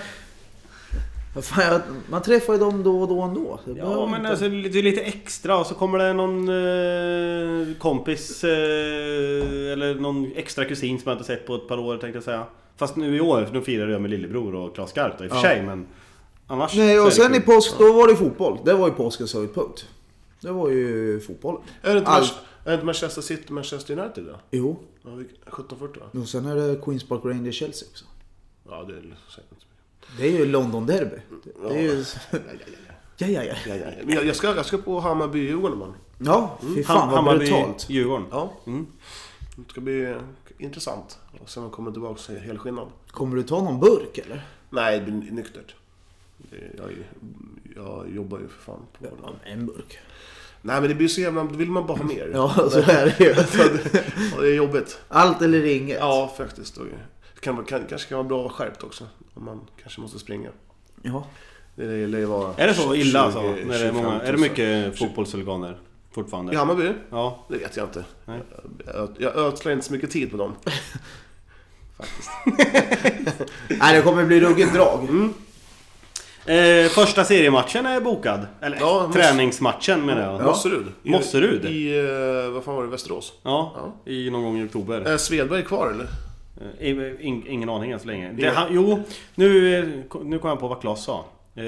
S6: Vad fan, jag, man träffar ju dem då och då ändå. Det
S4: Ja
S6: behöver
S4: men
S6: inte-
S4: alltså lite, lite extra och så kommer det någon eh, kompis eh, eller någon extra kusin som jag inte sett på ett par år tänkte jag säga. Fast nu i år, för nu firar jag med lillebror och Klas Skarp då, i och för sig men annars
S6: Nej,
S4: så är
S6: och
S4: det
S6: sen i
S4: kul.
S6: påsk, då var det fotboll. Det var ju påskens höjdpunkt. Det var ju fotboll.
S3: Är det inte,
S6: Allt.
S3: Manch- är det inte Manchester City, Manchester United då?
S6: Jo,
S3: Ja, vilka- 1740 va?
S6: och sen är det Queens Park Rangers Chelsea också.
S3: Ja, det är säkert inte så mycket.
S6: Det är ju London Derby. Det det är ju... Ja, ja, ja. Ja,
S3: Men jag, jag, ska, jag ska på Hammarby-Djurgården imorgon.
S6: fy fan
S4: Ham-
S6: vad
S4: Mm. Hammarby,
S6: brutalt.
S4: Djurgården.
S3: Ja. Det ska bli eh, intressant. Och sen kommer jag tillbaka så är jag helskinnad.
S6: Kommer du ta någon burk eller?
S3: Nej, det blir nyktert. Det- Jag, är ju- jag jobbar ju för fan på det.
S6: En burk.
S3: Nej, men det blir så jävla... Då vill man bara ha mer.
S6: Ja, typ. så är det ju.
S3: Och det är jobbigt.
S6: Allt eller inget.
S3: Ja, faktiskt. Och Det kan, vara- kan, kanske kan vara bra skärpt också. Om man kanske måste springa.
S6: Ja.
S3: Det lär ju vara...
S4: Är det så illa alltså?
S3: 20,
S4: När det är,
S3: 25 000.
S4: många, är det mycket fotbollshuliganer fortfarande?
S3: I Hammarby?
S4: ja.
S3: Det vet jag inte.
S4: Nej.
S3: Jag, jag ödslar inte så mycket tid på dem.
S6: Nej, det kommer bli ruggigt drag.
S3: Mm.
S4: Eh, första seriematchen är bokad. Eller
S3: Ja, Moss-
S4: träningsmatchen menar jag. Ja.
S3: Mosserud. I,
S4: Mosserud?
S3: I, eh, vad fan var det, Västerås?
S4: i någon gång i oktober.
S3: Är Svedberg kvar eller?
S4: Eh, in, ingen aning än så länge. Det, han, jo, nu, eh, nu kom jag på vad Claes sa. Eh,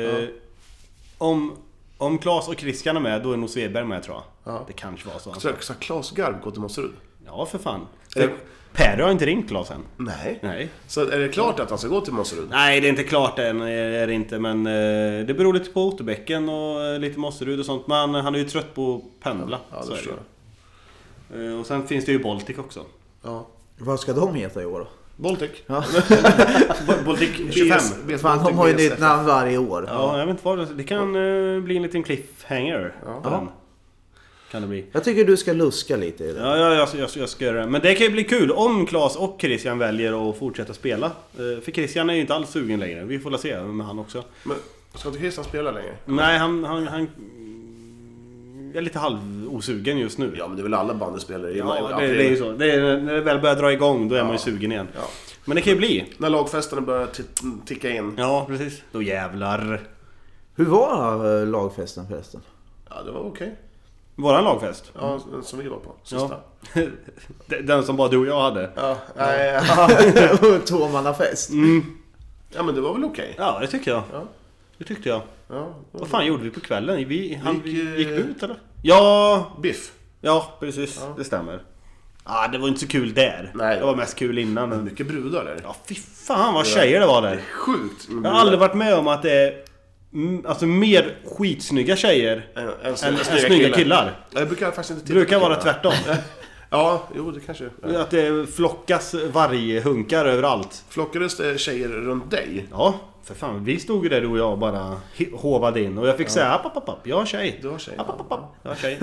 S4: Om, om Claes och Christian är med, då är nog Svedberg med tror jag.
S3: Ja.
S4: Det kanske var så. han
S3: Så
S4: sa.
S3: jag sa Claes Garb gå till Mosserud?
S4: Ja, för fan.
S3: Eh.
S4: Per har inte ringt Claes än.
S3: Nej.
S4: Nej.
S3: Så är det klart att han ska gå till Mosserud?
S4: Nej, det är inte klart än, är det inte, men eh, det beror lite på Otterbäcken och eh, lite Mosserud och sånt. Men han, han är ju trött på att pendla.
S3: Ja, det
S4: så är
S3: förstår jag.
S4: ju. Eh, Och sen finns det ju Baltic också.
S3: Ja.
S6: Vad ska de heta i år då?
S3: Baltic?
S6: Ja.
S4: Baltic 25.
S3: BS,
S6: Fan, de har ju nytt namn varje år.
S4: Ja, jag vet inte vad det... Det kan eh, bli en liten cliffhanger. på den. Kan det bli.
S6: Jag tycker du ska luska lite i det.
S4: Ja, ja jag, jag, jag ska göra det. Men det kan ju bli kul om Claes och Christian väljer att fortsätta spela. Eh, För Christian är ju inte alls sugen längre. Vi får väl se med han också.
S3: Men ska inte Christian spela längre?
S4: Nej, han... han, han är lite halvosugen just nu.
S3: Ja, men det är väl alla bandyspelare i maj?
S4: Ja, det,
S3: april.
S4: det är ju så. Det är, när det väl börjar dra igång, då är man ju sugen igen.
S3: Ja.
S4: Men det kan ju bli.
S3: När lagfesterna börjar ti- ticka in.
S4: Ja, precis. Då jävlar.
S6: Hur var eh, lagfesten förresten?
S3: Ja, det var okej.
S4: Våran lagfest.
S3: Mm. Ja, som vi var på. Sista.
S4: Ja. Den som bara du och jag hade.
S3: Ja, nej, ja.
S6: Tvåmannafest.
S3: ja men det var väl okej.
S4: Ja, det tycker jag.
S3: Ja.
S4: Det tyckte jag.
S3: Ja.
S4: Vad fan gjorde vi på kvällen? Vi, han,
S3: Gick,
S4: gick,
S3: eh,
S4: gick vi ut eller? Ja,
S3: Biff.
S4: ja precis. Det stämmer. Ah, det var inte så kul där.
S3: Nej.
S4: Det var mest kul innan. Men...
S3: Mycket brudar där.
S4: Ja, fy fan vad tjejer det var där.
S3: Sjukt med
S4: Jag
S3: brudar.
S4: har aldrig varit med om att det är mm, alltså, mer skitsnygga tjejer
S3: En, en,
S4: än snygga killar.
S3: Jag brukar faktiskt inte
S4: Det
S3: titta
S4: brukar
S3: på
S4: vara
S3: killar.
S4: tvärtom.
S3: Ja, jo det kanske ja.
S4: Att det flockas varghunkar överallt.
S3: Flockades det tjejer runt dig?
S4: Ja, för fan. Vi stod ju där du och jag och bara hi- håvade in. Och jag fick säga app, app, app, app, jag har tjej.
S3: Du har tjej.
S4: App, app, app, jag har tjej.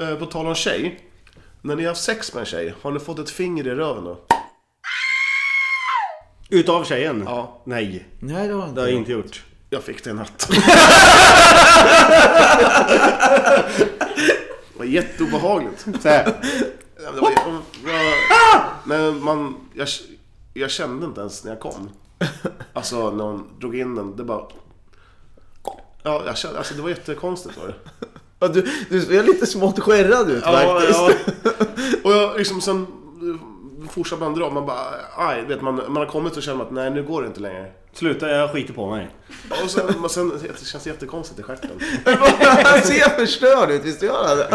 S3: Eh, på tal om tjej. När ni har haft sex med en tjej, har ni fått ett finger i röven då?
S4: Utav tjejen?
S3: Ja.
S4: Nej,
S6: Nej, det har jag
S4: det
S6: inte.
S4: har jag inte gjort.
S3: Jag fick det i natt. det var jätteobehagligt.
S4: Så här.
S3: Ja, men det var, jag, nej, man, jag, jag kände inte ens när jag kom. Alltså när hon drog in den, det bara... Ja, jag kände, alltså det var jättekonstigt var det.
S6: Ja, du, du ser lite smått skärrad ut faktiskt.
S3: Och jag liksom sen eh, fortsatte man dra, man bara aj, vet man, man har kommit och känner att nej nu går det inte längre.
S4: Sluta, jag skiter på mig.
S3: Och sen, men sen det känns jättekonstigt i stjärten.
S6: Han ser förstörd ut, visst gör han det?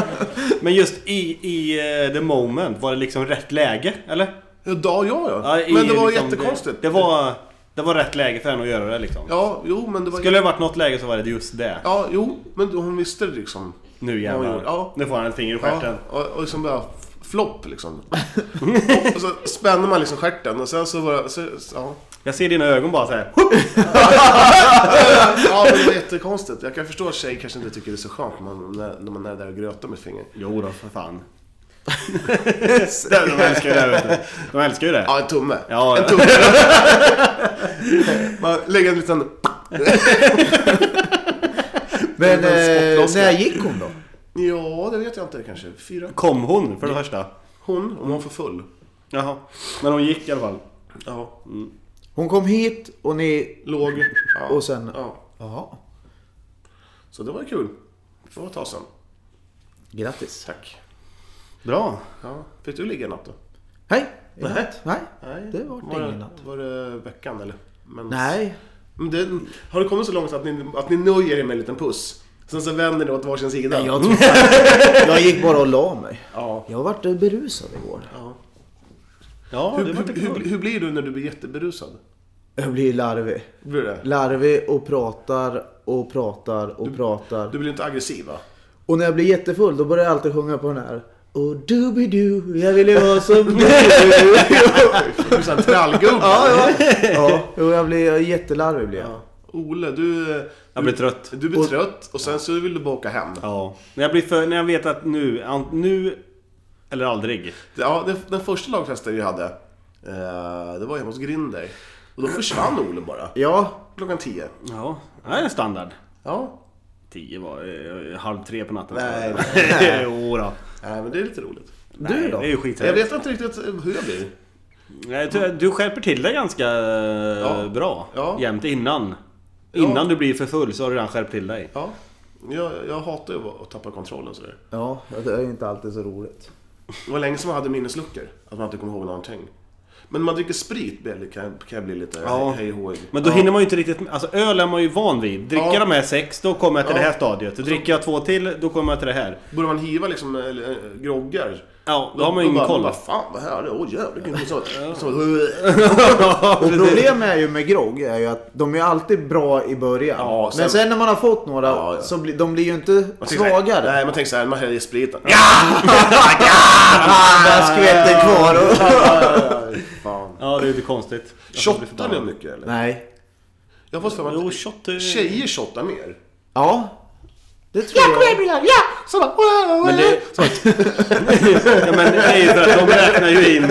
S4: Men just i, i eh, the moment, var det liksom rätt läge? Eller?
S3: Ja, ja, ja.
S4: Ja, i,
S3: Men det var
S4: liksom,
S3: jättekonstigt.
S4: Det, det, var, det var rätt läge för henne att göra det liksom.
S3: Ja, jo men det var...
S4: Skulle det varit något läge så var det just det.
S3: Ja, jo, men hon visste det liksom.
S4: Nu jävlar.
S3: Ja.
S4: Nu får han ett finger i stjärten.
S3: Ja, och, och liksom bara f- flopp liksom. och så spänner man liksom stjärten och sen så bara, så, så, ja.
S4: Jag ser dina ögon bara så här.
S3: ja men det var jättekonstigt. Jag kan förstå att tjejer kanske inte tycker det är så skönt när man, när, när man är där och grötar med finger.
S4: Jo då, för fan. de älskar ju det vet du. De älskar ju det.
S3: Ja, en tumme.
S4: Ja,
S3: en
S4: ja.
S3: tumme. man lägger en liten...
S6: Men
S3: Den
S6: eh,
S3: spottloska.
S6: när gick hon då?
S3: Ja, det vet jag inte kanske. Fyra.
S4: Kom hon för det första?
S3: Hon, om hon får full.
S4: Jaha. Men hon gick i alla fall.
S3: Ja.
S6: Hon Hon kom hit och ni...
S3: Låg. Ja.
S6: Och sen...
S3: Ja.
S6: Jaha.
S3: Så det var kul. Det var ett tag sedan.
S6: Grattis.
S3: Tack.
S4: Bra.
S3: Ja. Fick du ligga en natt då?
S6: Hej! Nej. Nej.
S3: Nej.
S6: Det var
S3: var
S6: ingen natt.
S3: Var det veckan eller? Men...
S6: Nej.
S3: Men det, har det kommit så långt att ni, att ni nöjer er med en liten puss? Sen så vänder ni åt varsin sida?
S6: Nej, Jag, tror jag gick bara och la mig.
S3: Ja.
S6: Jag vart eh, berusad igår.
S3: ja.
S4: Ja,
S3: Hur,
S4: det var inte
S3: hur, hur,
S4: kul.
S3: hur blir du när du blir jätteberusad?
S6: Jag blir larvig.
S3: Blir det?
S6: Larvig och pratar och pratar och pratar.
S3: Du blir inte aggressiv va?
S6: Och när jag blir jättefull då börjar jag alltid sjunga på den här. Och doobidoo, jag vill ju vara som du.
S3: Du är sån här trallgubbe.
S6: ja, ja. ja. Jo, jag blir jag är jättelarvig. Blir jag.
S3: Ja. Ole, du...
S4: Jag blir
S3: du-
S4: trött.
S3: Du blir trött och sen så vill du bara åka hem. Ja.
S4: Ja. När jag, blir för, när jag vet att nu, an- nu eller aldrig.
S3: den, den första lagfesten vi hade, eh, det var hemma hos Grinder. Och då försvann Ole bara.
S6: ja,
S3: Klockan tio. Eh,
S4: Ja, det är standard.
S3: Ja.
S4: Tio var eh, halv tre på natten.
S3: Nej,
S4: Jo då.
S3: Nej, men det är lite roligt.
S4: Nej,
S6: då?
S4: Det är ju
S3: Jag
S4: skithärligt.
S3: vet inte riktigt hur jag blir.
S4: Nej, du- Du skärper till dig ganska eh,
S3: Ja.
S4: bra.
S3: Ja.
S4: Jämt innan. Innan du blir för full så har du redan skärpt till dig.
S3: Ja. Jag, jag hatar ju att tappa kontrollen sådär.
S6: ja, det är inte alltid så roligt.
S3: Det var länge som man hade minnesluckor. Att man inte kommer ihåg någonting. Men när man dricker sprit blir jag- kan jag, kan jag bli lite
S4: Ja.
S3: hej hojig.
S4: Men då hinner man ju inte riktigt... Alltså öl är man ju van vid. Dricker
S3: Ja.
S4: de här sex, då kommer jag till
S3: Ja.
S4: det här stadiet. Dricker jag två till, då kommer jag till det här.
S3: Borde man hiva liksom eller, eh, groggar.
S4: Ja, då har man ju ingen
S3: bara-
S4: koll.
S3: Bara, fan vad här är det? Åh jävlar. vilken sån- sån-
S6: Och problemet är ju med grogg är ju att de är ju alltid bra i början.
S3: Ja, sen-
S6: Men sen när man har fått några
S3: Ja, ja.
S6: så blir de blir ju inte
S3: Man tänker såhär,
S6: svagare.
S3: Nej, man tänker såhär, man häller i spriten.
S6: Ah, Bara skvätter kvar. Och...
S3: Fan.
S4: Ja, det är lite konstigt.
S3: Shottar ni mycket eller?
S6: Nej.
S3: Jag har fått för mig
S4: Jo,
S3: att
S4: shot... eh,
S3: tjejer shottar mer.
S6: Ja. Det tror jag.
S3: Men det,
S4: ja, men nej, för att de räknar ju in... Är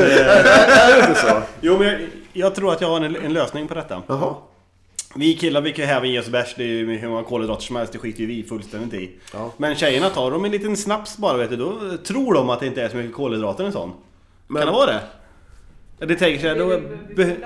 S4: det så? Jo, men jag, jag tror att jag har en, en lösning på detta.
S6: Jaha.
S4: Vi killar, vi kan ju även ge oss bärs. Det är ju hur många kolhydrater som helst. Det skiter ju vi fullständigt i.
S3: Ja.
S4: Men tjejerna tar de en liten snaps bara, vet du. Då tror de att det inte är så mycket kolhydrater i en sån.
S3: Men-
S4: Kan det vara det? Ja, Det tänker jag... Då, be,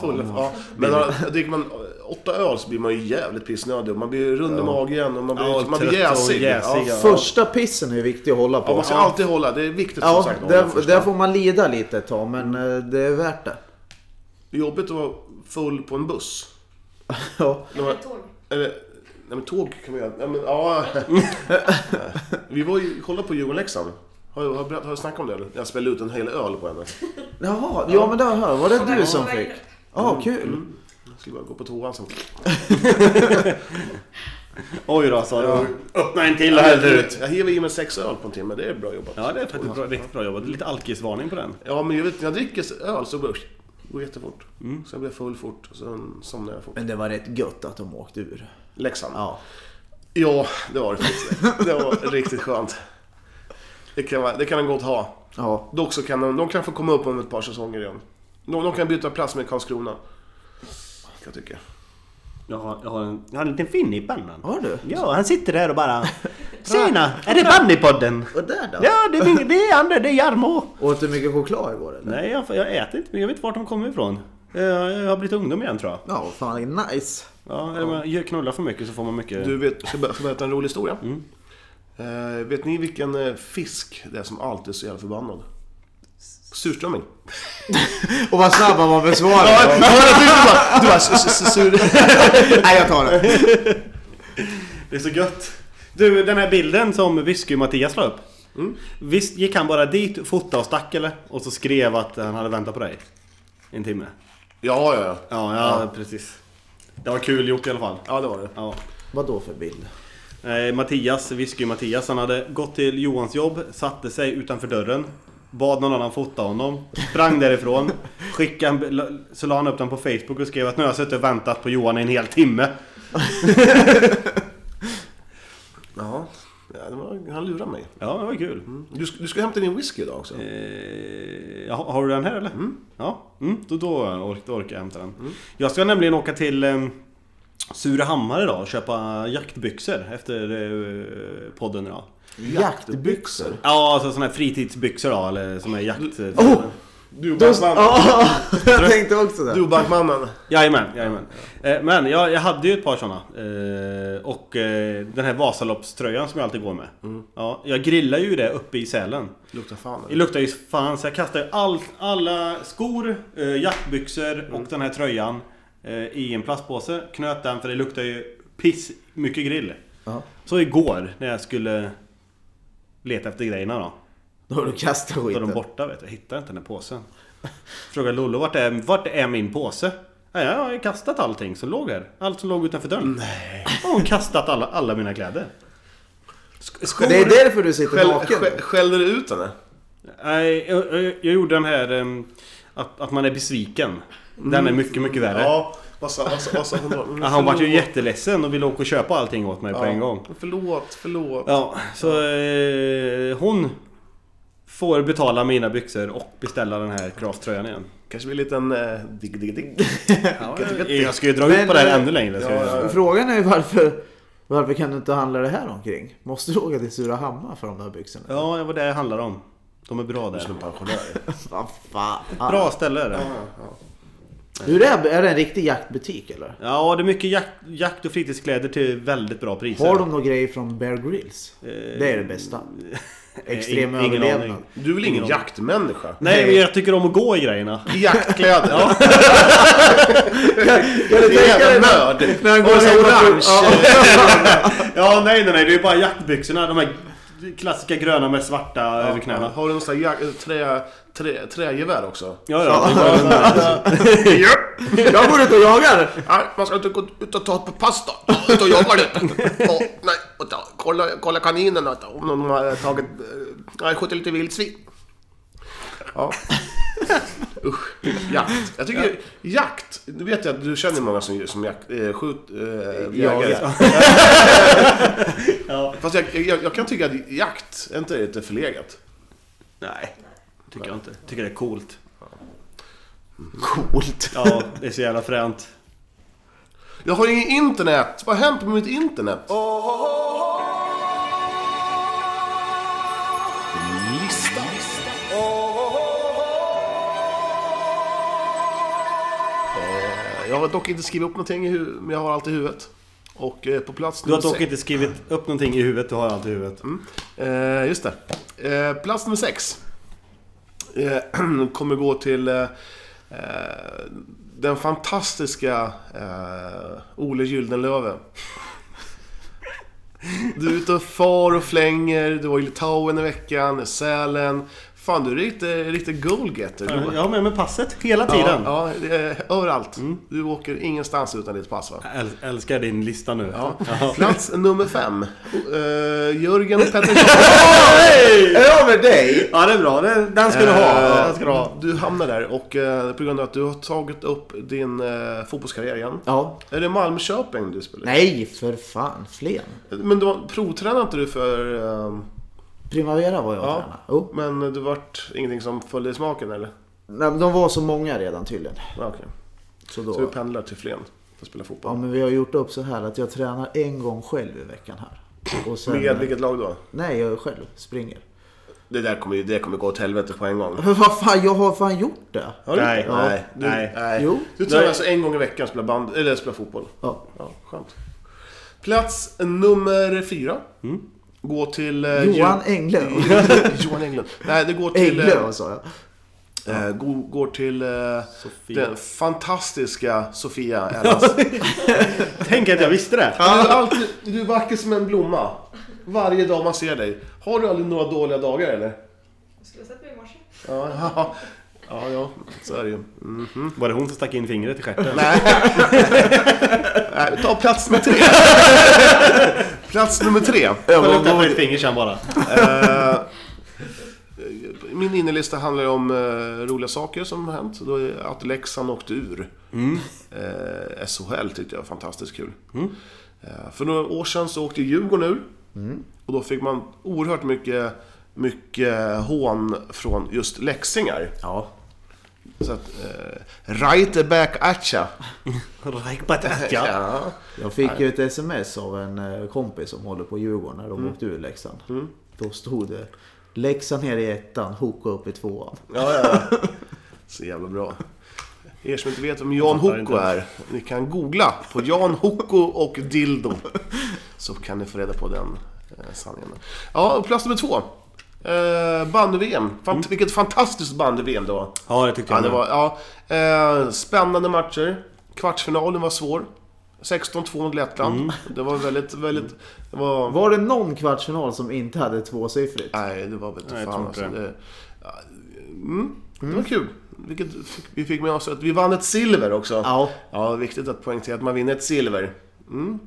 S3: full, ja. Men då, dricker man åtta öl så blir man ju jävligt pissnödig. Man blir rund i magen och man blir,
S4: Ja,
S3: man blir
S4: trött och
S3: jäsig.
S4: jäsig,
S3: ja.
S4: ja.
S6: Första pissen är ju viktig att hålla på.
S3: Ja, man ska alltid hålla. Det är viktigt som
S6: Ja,
S3: sagt. att hålla
S6: där,
S3: först.
S6: där får man lida lite ett tag, men eh, det är värt det.
S3: Det är jobbigt att vara full på en buss.
S6: Ja.
S3: Eller tåg. Eller, nej men tåg kan man göra. Nej, men, ja. Vi var ju, kollade på Djurgården-Leksand. Har jag, har, jag berättat- har jag snackat om det eller? Jag spällde ut en hel öl på henne.
S6: Jaha, ja men där hör jag. Var det du som fick? Ja, kul.
S3: Jag skulle bara gå på toan sen.
S4: oj då, sa du. Öppna en till och häll ut.
S3: Jag hiver i mig sex öl på en timme. Det är bra jobbat.
S4: Ja, det är faktiskt bra, riktigt bra jobbat. Lite alkisvarning på den.
S3: Ja, men jag vet, när jag dricker öl så går det går jättefort. Sen blir jag full fort och sen somnar jag fort.
S6: Men det var rätt gött att de åkte ur.
S3: Leksand.
S6: Ja.
S3: Ja, det var det faktiskt. Det var riktigt skönt. Det kan, man- det kan man gott ha.
S6: Ja.
S3: Dock så kan de, de kan få komma upp om ett par säsonger igen. De, de kan byta plats med Karlskrona. Kan jag tycka.
S4: Jag har, jag har, en, jag har en liten finne i pannan.
S6: Har du?
S4: Ja, han sitter där och bara... Tjena! Är det Bunnypodden?
S6: Och där då?
S4: Ja, det är, min, det är Andre, det är Jarmo!
S6: Åt du mycket choklad igår eller?
S4: Nej, jag, jag äter inte, men jag vet inte vart de kommer ifrån. Eh, Jag har blivit ungdom igen tror jag.
S6: Ja, fan nice.
S4: Ja, eller man gör- knullar för mycket så får man mycket...
S3: Du vet, ska jag berätta en rolig historia? Eh, vet ni vilken eh, fisk det är som alltid är så jävla förbannad? Surströmming.
S6: Och vad snabb han var med svaret.
S3: Du bara, s- s- s- sur...
S6: Nej, jag tar det.
S4: Det är så gött! Du, den här bilden som Whisky-Mattias la upp. Visst gick han bara dit, fotade och stack eller? Och så skrev att han hade väntat på dig. i En timme.
S3: Ja, ja, ja.
S4: Ja, ja, precis. Det var kul gjort i alla fall.
S3: Ja, det var det.
S4: Ja.
S6: Vad då för bild?
S4: Eh, Mattias, Whisky-Mattias, han hade gått till Johans jobb, satte sig utanför dörren Bad någon annan fota honom, sprang därifrån skickade en, la- Så la han upp den på Facebook och skrev att nu har jag suttit och väntat på Johan i en hel timme
S3: Ja, ja det var, han lurade mig.
S4: Ja, det var kul
S3: Du, sk- du ska hämta din whisky idag också.
S4: eh, ja, Har du den här eller? Ja, mm, då, då, ork, då orkar jag hämta den Jag ska nämligen åka till eh, Surahammar idag och köpa jaktbyxor efter eh, podden idag
S6: Jaktbyxor.
S4: Ja, alltså sådana här fritidsbyxor då, eller som är jakt...
S6: Oh!
S3: Du och
S6: Då,
S3: bankmannen.
S6: ja, jag tänkte också det.
S3: Du och bankmannen.
S4: Jajamän, jajamän. Eh, Men jag, jag hade ju ett par sådana. Eh, Och eh, den här Vasaloppströjan som jag alltid går med. Ja, jag grillar ju det uppe i Sälen.
S3: Luktar fan.
S4: Det luktar ju fan så jag kastar ju all, alla skor, eh, jackbyxor och den här tröjan eh, i en plastpåse. Knöt den för det luktar ju piss mycket grill.
S6: Ja.
S4: Så igår när jag skulle leta efter grejerna då.
S6: Då har du kastat
S4: Då är de
S6: skiten.
S4: borta vet du. Jag hittar inte den här påsen. Frågar Lollo vart är, vart är min påse? Ja, jag har ju kastat allting som låg här. Allt som låg utanför dörren. Nej. Och hon kastat alla, alla mina kläder. Sk- skor.
S6: Det är därför du sitter
S3: Skäll-
S6: naken.
S3: skä- Skällde du ut henne?
S4: Nej, jag, jag, jag gjorde den här ehm, att, att man är besviken. Den är mycket, mycket värre.
S3: Ja, vad sa, vad sa, vad sa hon då?
S4: Ja, han var ju jätteledsen och ville åka och köpa allting åt mig på en gång.
S3: Förlåt, förlåt.
S4: Ja, så eh, hon får betala mina byxor och beställa den här kraströjan igen.
S3: Kanske blir en liten eh, digg, digg, digg.
S4: Jag ska ju dra
S6: Men,
S4: ut på det här
S6: eh,
S4: ännu längre. Ska
S3: ja,
S4: jag
S3: ja.
S4: göra.
S6: Frågan är ju varför, varför kan du inte handla det här omkring? Måste du åka till Surahammar för de där byxorna?
S4: ja, det var det det handlar om. De är bra där.
S3: Som en pensionär.
S6: Vad fan.
S4: Bra ställe är det.
S6: Hur är det? Är det en riktig jaktbutik eller?
S4: Ja, det är mycket jakt, jakt och fritidskläder till väldigt bra priser.
S6: Har de några grejer från Bear Grylls?
S3: Eh,
S6: Det är det bästa. Extrem
S4: Ing- ingen
S6: överlevnad.
S4: aning.
S3: Du är väl ingen jaktmänniska?
S4: Nej, men jag tycker om att gå i grejerna.
S3: I jaktkläder? Ja.
S6: Kan du
S3: Det är
S6: tänka dig
S3: jävla
S6: när-
S3: nörd.
S6: när han
S3: Och
S6: går
S3: så
S6: i
S3: orange.
S4: Ja, nej, nej, nej. Det är bara jaktbyxorna. De här klassiska gröna med svarta över knäna.
S3: Har du någon sån här jak- trä, trä, trägevär också?
S4: Ja, ja. det är bara-
S6: Jag går ut och jagar!
S3: Nej, man ska inte gå ut och ta ett par pass då. Ut och jaga lite. Ja, nej, och ta, kolla, kolla kaninerna då, om de har tagit... eh, Nej, skjutit lite vildsvin. Ja. Usch, jakt. Jag tycker jakt, du vet jag att du känner många som, som jakt, eh, skjut, eh, jägare. Fast jag, jag, jag kan tycka att jakt, är inte det lite förlegat?
S4: Nej, tycker jag inte. Tycker det är coolt.
S6: Coolt!
S4: Ja, det är så jävla fränt.
S3: Jag har inget internet! Vad har hänt med mitt internet? Lista. Eh, Jag har dock inte skrivit upp någonting, i hu- men jag har allt i huvudet. Och eh, på plats
S4: Du har
S3: nummer
S4: dock
S3: sex...
S4: inte skrivit upp någonting i huvudet. Du har allt i huvudet.
S3: Eh, just det. Eh, plats nummer sex. Eh, kommer gå till eh, eh, den fantastiska eh, Ole Gyldenlöve. Du är ute och far och flänger, du var i Litauen i veckan, Sälen. Fan, du är riktigt, riktigt goalgetter. Du,
S4: Jag har med mig passet hela tiden.
S3: ja, ja, eh, överallt. Du åker ingenstans utan ditt pass va?
S4: Jag äl- älskar din lista nu.
S3: Ja.
S4: Ja.
S3: Plats nummer fem. Eh, Jörgen Pettersson.
S6: Över dig!
S4: Ja, det är bra. Det- Den ska du ha. Den ska du ha.
S3: Eh, Du hamnar där och eh, på grund av att du har tagit upp din eh, fotbollskarriär igen.
S6: Ja.
S3: Är det Malmköping du spelar i?
S6: Nej, för fan. Flen.
S3: Men du var- provtränade inte du för... ehm,
S6: Primavera var jag och
S3: ja,
S6: tränade. Jo.
S3: Men du vart ingenting som följde i smaken eller?
S6: Nej, men de var så många redan tydligen.
S3: Ja, Okej.
S6: Så
S3: Så du
S6: då...
S3: pendlar till Flen för att spela
S6: Ja,
S3: fotboll?
S6: men vi har gjort upp så här att jag tränar en gång själv i veckan här. Och sen...
S3: Med vilket lag då?
S6: Nej, jag är själv. Springer.
S3: Det där kommer, ju- det kommer gå åt helvete på en gång.
S6: Men vad fan, jag har fan gjort det!
S3: Har du
S4: Nej,
S3: inte?
S4: nej,
S3: du,
S4: nej.
S6: Jo.
S3: Du tränar alltså en gång i veckan och spelar, band, eller spelar fotboll?
S6: Ja.
S3: Ja, skönt. Plats nummer fyra. Går till... eh,
S6: Johan
S3: Ju-
S6: Englund.
S3: Johan Englund. Nej, det går till... eh,
S6: Englund sa jag.
S3: Eh, går, går till eh,
S4: Sofia.
S3: den fantastiska Sofia Ellas.
S4: Tänk att jag visste det.
S3: du, är alltid, du är vacker som en blomma. Varje dag man ser dig. Har du aldrig några dåliga dagar eller?
S7: Jag skulle ha sett mig i morse.
S3: Ja, ja, ja, ja så är det ju. Mm.
S4: Var det hon som stack in fingret i stjärten?
S3: Nej. Nej, ta plats nummer tre. plats nummer tre.
S4: Hon öppnade ett finger sen bara.
S3: Eh, Min innelista handlar ju om eh, roliga saker som har hänt. Då är att Leksand åkte ur eh, SHL tyckte jag var fantastiskt kul. Eh, för några år sedan så åkte Djurgården ur. Och då fick man oerhört mycket, mycket hån från just läxingar.
S6: Ja.
S3: Så att, eh, right back at ya.
S4: Rajbatatja.
S3: Ja.
S6: Jag fick ju ett sms av en eh, kompis som håller på Djurgården när de
S3: Mm.
S6: åkte ur Leksand. Då stod det Leksand ner i ettan, Hoka upp i tvåan.
S3: Ja, ja, ja. Så jävla bra. Er som inte vet vem Jan
S4: fattar
S3: Hoko
S4: inte.
S3: är, ni kan googla på Jan Hoko och Dildo. Så kan ni få reda på den eh, sanningen. Ja, och plats nummer två. Eh, Bandy-VM. Fant- Vilket fantastiskt bandy-VM det var.
S4: Ja, det tyckte
S3: Ja,
S4: jag
S3: det
S4: med.
S3: var, ja, eh, spännande matcher. Kvartsfinalen var svår. 16-2 mot Lettland. Det var väldigt, väldigt... Det var...
S6: Var det någon kvartsfinal som inte hade tvåsiffrigt?
S3: Nej, det var väl inte
S4: liksom.
S3: fan
S4: Nej, jag tror inte
S3: alltså. Det, ja, mm, det var kul. Vilket fick, vi fick med oss att vi vann ett silver också.
S6: Ja.
S3: Ja, viktigt att poängtera att man vinner ett silver. Mm.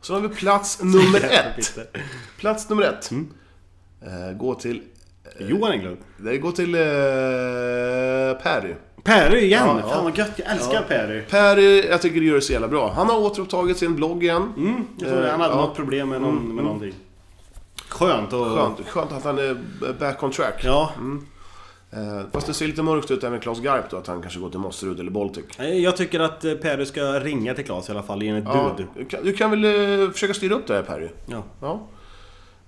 S3: Så har vi plats nummer ett. Plats nummer ett.
S4: Mm.
S3: Eh, gå till...
S4: Johan Englund.
S3: Det går till eh, Perry.
S4: Perry igen!
S3: Ja, ja.
S4: Fan vad gött, jag älskar Perry.
S3: Perry, jag tycker du gör det så jävla bra. Han har återupptagit sin blogg igen.
S4: Mm, jag tror det. Han hade
S3: Eh, ja.
S4: något problem med, någon, med någonting. Skönt och...
S3: Skönt, Mm. skönt att han är back on track.
S4: Ja.
S3: Eh, fast det ser lite mörkt ut även Klas Garp då, att han kanske går till Mosserud eller Baltic.
S4: Nej, Jag tycker att eh, Perry ska ringa till Claes i alla fall, enligt
S3: Ja,
S4: du.
S3: du, kan, du kan väl eh, försöka styra upp det här Perry?
S4: Ja.
S3: Ja.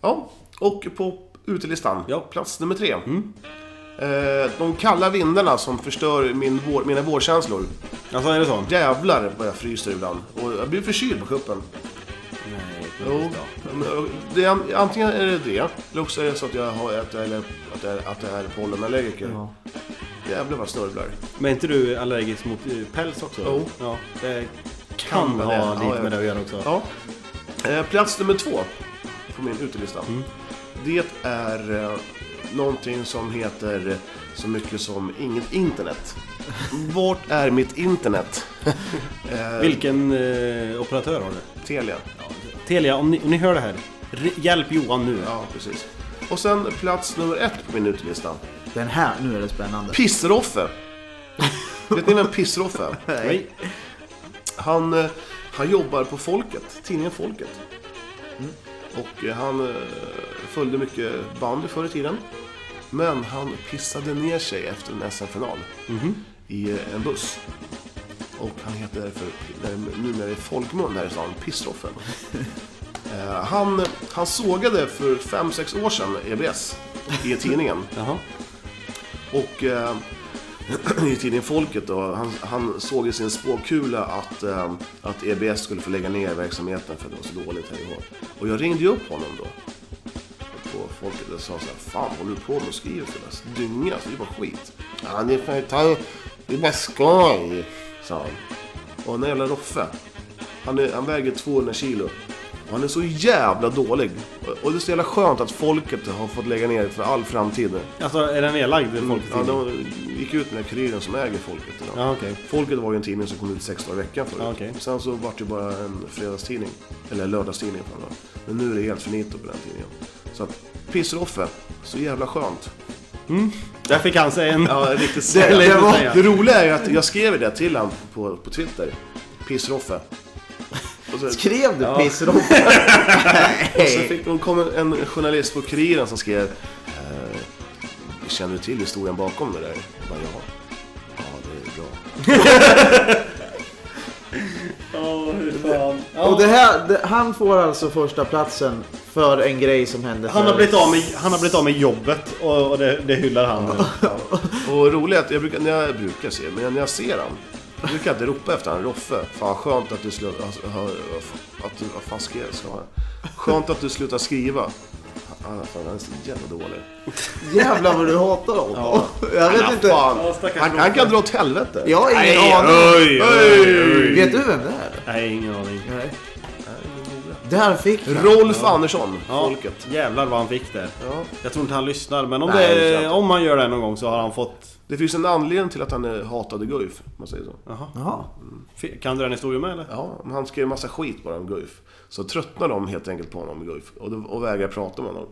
S3: ja. Och på utelistan,
S4: Ja.
S3: plats nummer tre. Eh, de kalla vindarna som förstör min vår, mina vårkänslor.
S4: Alltså är det så?
S3: Jävlar vad jag fryser ibland. Och jag blir förkyld på kuppen. Jo, men det är, antingen är det det, eller också är det så att jag, har, att jag, eller, att jag, att jag är pollenallergiker.
S6: Ja.
S3: Jävlar vad jag snörvlar.
S4: Men är inte du allergisk mot eh, päls också?
S3: Jo.
S4: Ja, det kan
S3: Kan
S4: ha
S3: det. Ja,
S4: lite
S3: jag
S4: med
S3: vet.
S4: det att göra också.
S3: Ja. Eh, plats nummer två på min utelista. Det är eh, någonting som heter så mycket som inget internet. Vart är mitt internet?
S4: Vilken eh, operatör har du?
S3: Telia.
S4: Telia, om ni, om ni hör det här. ri- Hjälp Johan nu.
S3: Ja, precis. Och sen plats nummer ett på min utelista.
S6: Den här, nu är det spännande.
S3: Pissroffe. Vet ni vem Pissroffe är?
S4: Nej.
S3: Han, eh, han jobbar på Folket, tidningen Folket. Och eh, han eh, följde mycket bandy förr i tiden. Men han pissade ner sig efter en SM-final i eh, en buss. Och han heter därför, där- numera i folkmun här i stan, Pissroffen. Eh, han, han sågade för 5-6 år sedan EBS i tidningen.
S4: Jaha.
S3: Och eh, i tidningen Folket då, han, han såg i sin spåkula att, eh, att EBS skulle få lägga ner verksamheten för att det var så dåligt här i år. Och jag ringde ju upp honom då. På Folket och sa så här, fan vad håller du på med och skriver för oss? Dynga, så det är bara skit. Ja, det är, för, ta- det är bara skoj, sa han. Och den där jävla Roffe, han, är, han väger 200 kilo. Och han är så jävla dålig. Och- Och det är så jävla skönt att Folket har fått lägga ner för all framtid nu.
S4: Alltså är den nedlagd? Folkets
S3: Mm, Ja,
S4: tidning?
S3: de gick ut med kuriren som äger Folket idag.
S4: Ja, okej.
S3: Folket var ju en tidning som kom ut sex dagar i veckan förut.
S4: Ja, okej.
S3: Sen så var det ju bara en fredagstidning. Eller lördagstidning fan då. Men nu är det helt finito på den tidningen. Så att Pissroffe, så jävla skönt.
S4: Där fick han sig en...
S3: Ja, riktigt
S4: Det lär jag
S3: det,
S4: säga.
S3: det roliga är ju att jag skrev det till honom på, på Twitter. Pissroffe. Och så-
S6: Skrev du pissrobot?
S3: Och så
S6: Nej.
S3: fick, hon kom en, en journalist på Kuriren som skrev eh, Känner du till historien bakom det där? Jag bara, ja. Ja, det är bra.
S6: Och det här, det, han får alltså första platsen för en grej som hände
S4: Han har
S6: för-
S4: blivit av med, han har blivit av med jobbet och, och det, det hyllar han nu.
S3: Och roligt att jag brukar, när jag brukar se, men när jag ser han jag brukar inte ropa efter han Roffe. Fan skönt att du slutar... Alltså, att du, vad fan skrev jag? Sa jag? Skönt att du slutar skriva. Han, fan, han är så jävla dålig.
S6: Jävlar vad du hatar honom. Jag vet inte.
S3: Fan,
S4: stackars
S3: han, han kan dra åt helvete.
S6: Jag har ingen
S4: Nej,
S6: aning.
S4: oj,
S6: Vet du vem det är?
S4: Nej, ingen aning.
S6: Nej. Där fick jag.
S3: Rolf Andersson,
S4: Ja,
S3: folket.
S4: Jävlar vad han fick där.
S3: Ja.
S4: Jag tror inte han lyssnar, men om,
S3: Nej, det tror jag
S4: det,
S3: inte.
S4: om han gör det någon gång så har han fått...
S3: Det finns en anledning till att han eh, hatade Guif, om man säger så.
S6: Jaha.
S4: Fe- Kan du den historien med eller?
S3: Ja, men han skrev massa skit bara om Guif. Så tröttnade de helt enkelt på honom, Guif, och, då- och vägrade prata med honom.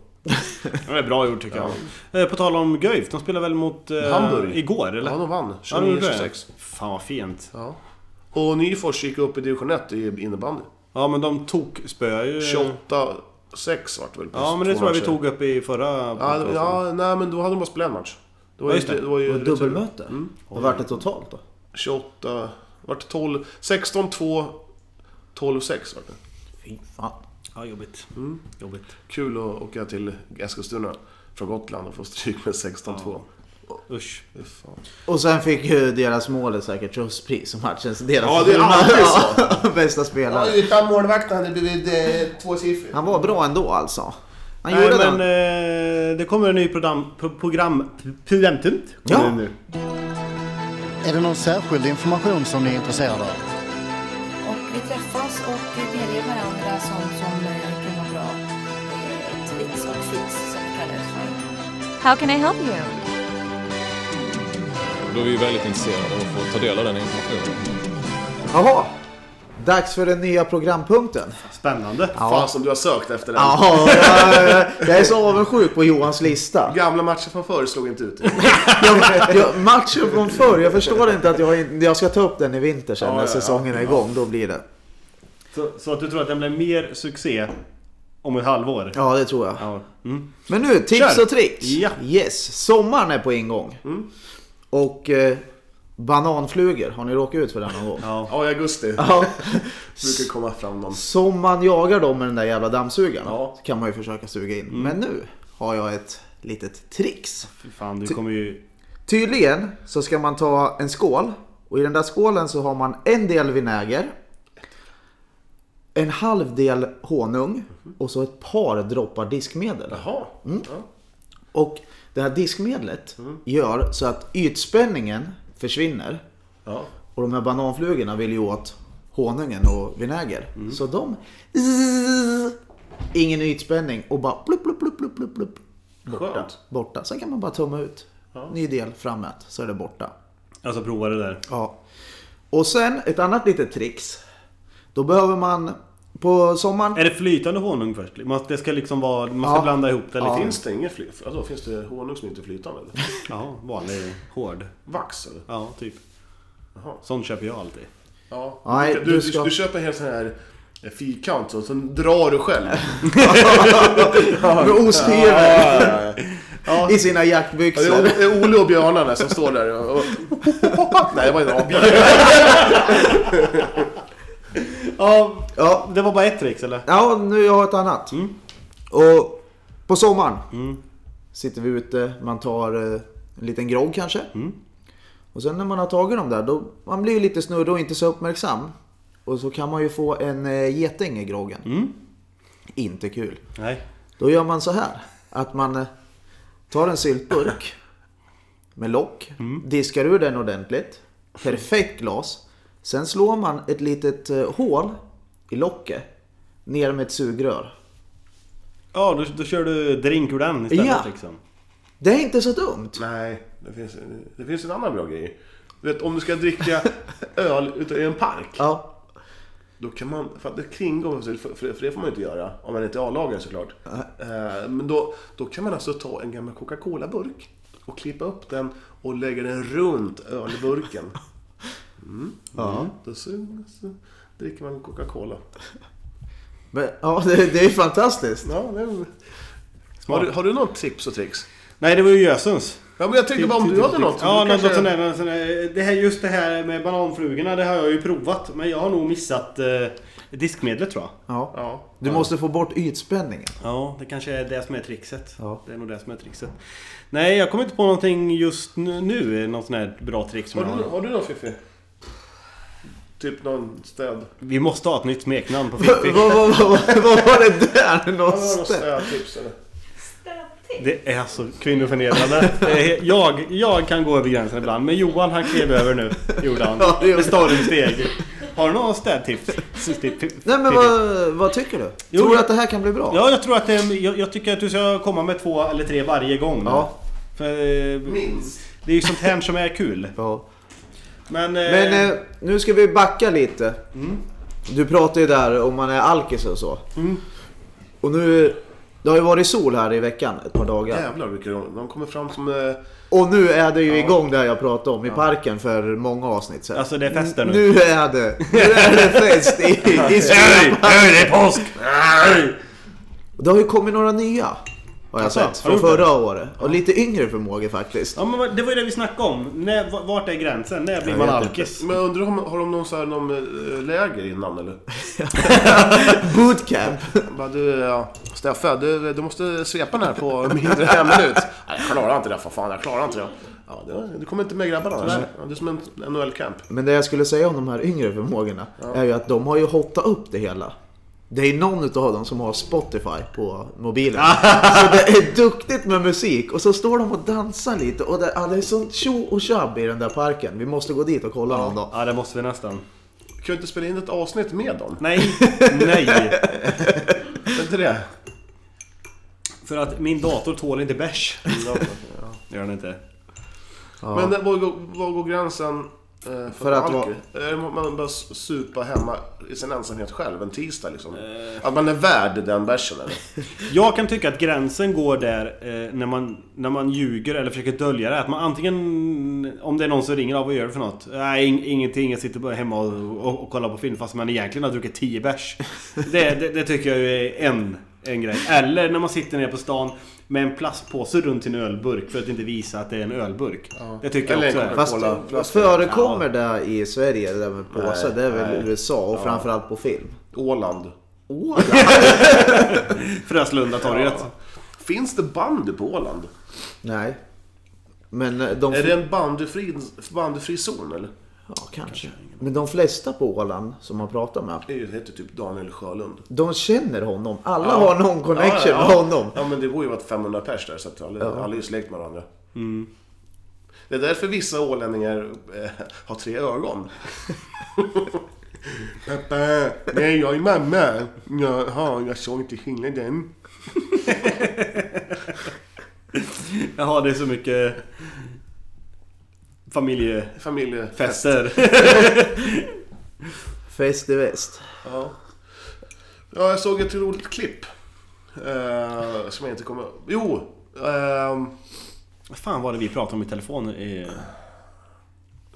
S4: Det är bra gjort tycker jag. Eh, På tal om Guif, de spelade väl mot... eh,
S3: Hamburg.
S4: Igår eller?
S3: Ja, de vann.
S4: Ja, de gjorde det.
S3: 29-26.
S4: Fan vad fint.
S3: Ja. Och Nyfors gick upp i division 1 i innebandy.
S4: Ja men de tog spöar ju...
S3: 28-6 vart det väl på
S4: Ja men det
S3: två
S4: tror jag vi
S3: matcher.
S4: tog upp i förra...
S3: Ja, det-
S4: podcasten.
S3: ja, nej men då hade de bara spelat en match. Det var
S4: Ja,
S3: ju,
S4: just det.
S3: det var ju
S6: Och dubbelmöte?
S3: Mm.
S6: Vad vart det totalt då?
S3: 28... Vart 12... 16-2... 12-6 vart det.
S6: Fy fan.
S4: Ja, jobbigt. Jobbigt.
S3: Kul att åka till Eskilstuna från Gotland och få stryk med 16-2.
S4: Usch.
S6: Och sen fick ju deras mål säkert tröstpris i matchen. Så deras
S3: Ja, det är alltid så.
S6: bästa spelare.
S3: Utan målvakten hade det blivit eh, tvåsiffrigt.
S6: Han var bra ändå alltså. Han
S4: Nej,
S6: gjorde
S4: men
S6: den.
S4: eh, det kommer en ny program... Pro, program programpunkt.
S6: Ja.
S4: Kommer nu.
S8: Är det någon särskild information som ni är intresserade av?
S9: Och vi träffas och vi delger varandra sånt som eh, kan vara bra. Eh, Tricks och fix som vi kallar det för. How can I help you?
S10: Då är vi väldigt intresserade av att få ta del av den informationen.
S3: eh,
S6: Jaha! Dags för den nya programpunkten.
S4: Spännande.
S3: Fan som du har sökt efter den.
S6: Ja, jag, jag är så avundsjuk på Johans lista.
S3: Gamla matcher från förr slog inte ut.
S6: Jag, jag, matchen från förr, jag förstår inte att jag, in- jag ska ta upp den i vinter sen
S3: Ja,
S6: när
S3: ja, ja.
S6: säsongen är igång. Då blir det.
S4: Så, så att du tror att den blir mer succé om ett halvår?
S6: Ja, det tror jag.
S4: Ja. Mm.
S6: Men nu, tips
S4: Kör.
S6: och tricks.
S4: Ja. Mm.
S6: Yes, sommaren är på ingång. Och eh, bananflugor, har ni råkat ut för den någon gång?
S4: ja.
S3: Ja, i augusti
S6: Ja.
S3: brukar komma fram någon.
S6: Som man jagar dem med den där jävla dammsugaren.
S3: Ja.
S6: Så kan man ju försöka suga
S4: Mm.
S6: in. Men nu har jag ett litet trix.
S4: Fy fan, du kommer ju...
S6: Tydligen så ska man ta en skål och i den där skålen så har man en del vinäger. En halv del honung och så ett par droppar diskmedel.
S3: Jaha.
S6: Och det här diskmedlet gör så att ytspänningen försvinner.
S3: Ja.
S6: Och de här bananflugorna vill ju åt honungen och vinäger. Så de... Ingen ytspänning och bara plupp, plupp, plupp, plupp, plupp, plupp. Borta.
S3: Skönt.
S6: borta. Sen kan man bara tumma ut. Ny del framåt så är det borta.
S4: Alltså prova det där.
S6: Ja. Och sen ett annat litet trix. Då behöver man på sommaren...
S4: Är det flytande honung först? Man, det ska liksom vara... Man ska
S6: Ja.
S4: blanda ihop det lite.
S3: Finns det inget flyt? Alltså, finns det honung som inte är flytande? eller?
S4: Ja, vanlig hård.
S3: Vax eller?
S4: Ja, typ. Sånt köper jag alltid.
S3: Ja.
S6: Nej,
S3: du, du,
S6: du ska-
S3: du köper en helt sån här eh, fyrkant och sen drar du själv.
S6: Med osthyveln
S3: Ja, ja, ja.
S6: i
S3: Ja,
S6: sina
S3: Det är
S6: jackbyxor.
S3: O- det är Ole och björnarna som står där och... och... Nej, det var en apa.
S4: Ja,
S6: Ja,
S4: det var bara ett trix eller?
S6: Ja, nu har jag ett annat.
S3: Mm.
S6: Och på sommaren sitter vi ute, man tar eh, en liten grogg kanske.
S3: Mm.
S6: Och sen när man har tagit dem där, då, man blir ju lite snurrig och inte så uppmärksam. Och så kan man ju få en eh, geting i groggen.
S3: Mm.
S6: Inte kul.
S4: Nej.
S6: Då gör man så här, att man eh, tar en syltburk med lock, diskar ur den ordentligt, perfekt glas. Sen slår man ett litet eh, hål i locket ner med ett sugrör.
S4: Ja, då, då kör du drink ur den istället
S6: Ja.
S4: liksom.
S6: Det är inte så dumt.
S3: Nej, det finns, det finns en annan bra grej. Du vet, om du ska dricka öl ute i en park.
S6: Ja,
S3: Då kan man, för att det kringgår, för, för, för det får man ju inte göra om man inte är A-lagare såklart. Eh, men då, då kan man alltså ta en gammal Coca-Cola-burk och klippa upp den och lägga den runt ölburken. Mm. Ja. Då så, så dricker man Coca-Cola.
S6: men, ja det, det är fantastiskt.
S3: Ja, det är... har, du, har du något tips och tricks?
S4: Nej, det var ju gösens.
S3: Ja, men jag tänkte bara om du hade något.
S4: Ja,
S3: Du
S4: något
S3: kanske-
S4: sånt där, något sånt där. Det här, just det här med bananfrugorna, det har jag ju provat. Men jag har nog missat eh, diskmedlet tror jag.
S6: Ja.
S3: Ja.
S6: Du måste få bort ytspänningen.
S4: Ja, det kanske är det som är trixet.
S6: Ja.
S4: Det är nog det som är trixet. Nej, jag kommer inte på någonting just nu- nu. Något sånt här bra trick som
S3: Har
S4: jag
S3: du,
S4: har.
S3: har du något Fiffi? Typ någon städ?
S4: Vi måste ha ett nytt smeknamn på
S6: Vad
S4: Fiffi.
S6: vad- vad- vad var det där
S3: Har du något
S6: någonstans?
S3: städtips eller?
S7: Städtips.
S4: Det är så kvinnoförnedrande. Det är- Jag, jag kan gå över gränsen ibland, men Johan han klev över nu. Gjorde han.
S6: Ja, det gjorde
S4: Med stormsteg. Har du några städtips? Sti-
S6: Nej men
S4: Fiffi?
S6: vad, vad tycker du?
S4: Jo,
S6: Tror du
S4: jag-
S6: att det här kan bli bra?
S4: Ja, jag tror att det är, jag, jag tycker att du ska komma med två eller tre varje gång. nu.
S6: Ja.
S4: För, Minst. Det är ju sånt här som är kul.
S6: ja.
S4: Men...
S6: Men eh, nu ska vi backa lite. Du pratade ju där om man är alkis och så. Och nu, det har ju varit sol här i veckan ett par dagar.
S3: Jävlar vilka de, de kommer fram som... eh,
S6: Och nu är det ju igång det här jag pratade om i parken för många avsnitt sedan.
S4: Alltså, det är fester nu.
S6: Nu är det, nu är det fest i, i skolan.
S4: det är påsk!
S6: Det har ju kommit några nya. Har jag
S4: Alltså,
S6: sett.
S4: har du
S6: Från
S4: gjort
S6: förra året. Och lite yngre förmågor faktiskt.
S4: Ja, men vad- det var ju det vi snackade om. När, v- vart är gränsen? När blir
S6: Jag
S4: man
S6: vet
S4: alkis?
S3: Men jag undrar om har de någon, så här, någon eh, läger innan eller?
S6: Bootcamp.
S3: Bara du, ja, Steffe, du, du måste svepa den här på mindre än en minut. Nej, jag klarar inte det för fan. Jag klarar inte det. Ja, det- du kommer inte med grabbarna annars.
S6: Nej.
S3: Ja, Det är som en NHL-camp.
S6: Men det jag skulle säga om de här yngre förmågorna
S3: Ja.
S6: är ju att de har ju hottat upp det hela. Det är någon utav dem som har Spotify på mobilen. så det är duktigt med musik och så står de och dansar lite och det, ja, det är sånt tjo och tjabb i den där parken. Vi måste gå dit och kolla någon dag.
S4: Ja, det måste vi nästan.
S3: Kan du inte spela in ett avsnitt med dem?
S4: Nej, nej.
S3: Är inte det?
S4: För att min dator tål inte bärs. Det gör den inte.
S3: Men det- var går, var går gränsen eh, för,
S6: För att
S3: att
S6: vara-
S3: Man börjar supa hemma i sin ensamhet själv en tisdag liksom. Att man är värd den bärsen eller?
S4: Jag kan tycka att gränsen går där eh, när, man, när man ljuger eller försöker dölja det. Att man antingen... Om det är någon som ringer av, vad gör du för något? Nej, ing- ingenting. Jag sitter bara hemma och, och, och kollar på film fast man egentligen har druckit 10 bärs. Det, det, det tycker jag ju är en, en grej. Eller när man sitter nere på stan med en plastpåse runt sin ölburk för att inte visa att det är en ölburk. Det tycker jag
S3: Eller
S4: också
S3: en
S4: är...
S3: Coca-Cola.
S6: Fast
S3: Coca-Cola-flaska.
S6: förekommer det i Sverige, det där med påsar?
S3: Nej,
S6: Det är väl
S3: nej.
S6: USA och framförallt på film.
S3: Åland.
S4: Fröslundatorget.
S3: Finns det bandy på Åland?
S6: Nej. Men eh, de...
S3: Är det en bandyfri, bandyfri zon eller?
S6: Ja, kanske. Men de flesta på Åland som man pratar med,
S3: Det är ju- heter typ Daniel Sjölund.
S6: de känner honom. Alla har någon connection
S3: ja, ja.
S6: med honom.
S3: Ja men det bor ju varit 500 pers där så att alla, alla är ju släkt med varandra. Mm. Det är därför vissa ålänningar eh, har tre ögon. Pappa, nej jag är mamma. Jaha, jag såg inte skillnaden.
S4: Jaha, det är så mycket... Familjefester.
S3: Familjefest.
S6: Fest i väst.
S3: Ja. ja, jag såg ett roligt klipp. Eh, som jag inte kommer... Jo! ehm,
S4: Vad fan var det vi pratade om i telefon? Eh, i-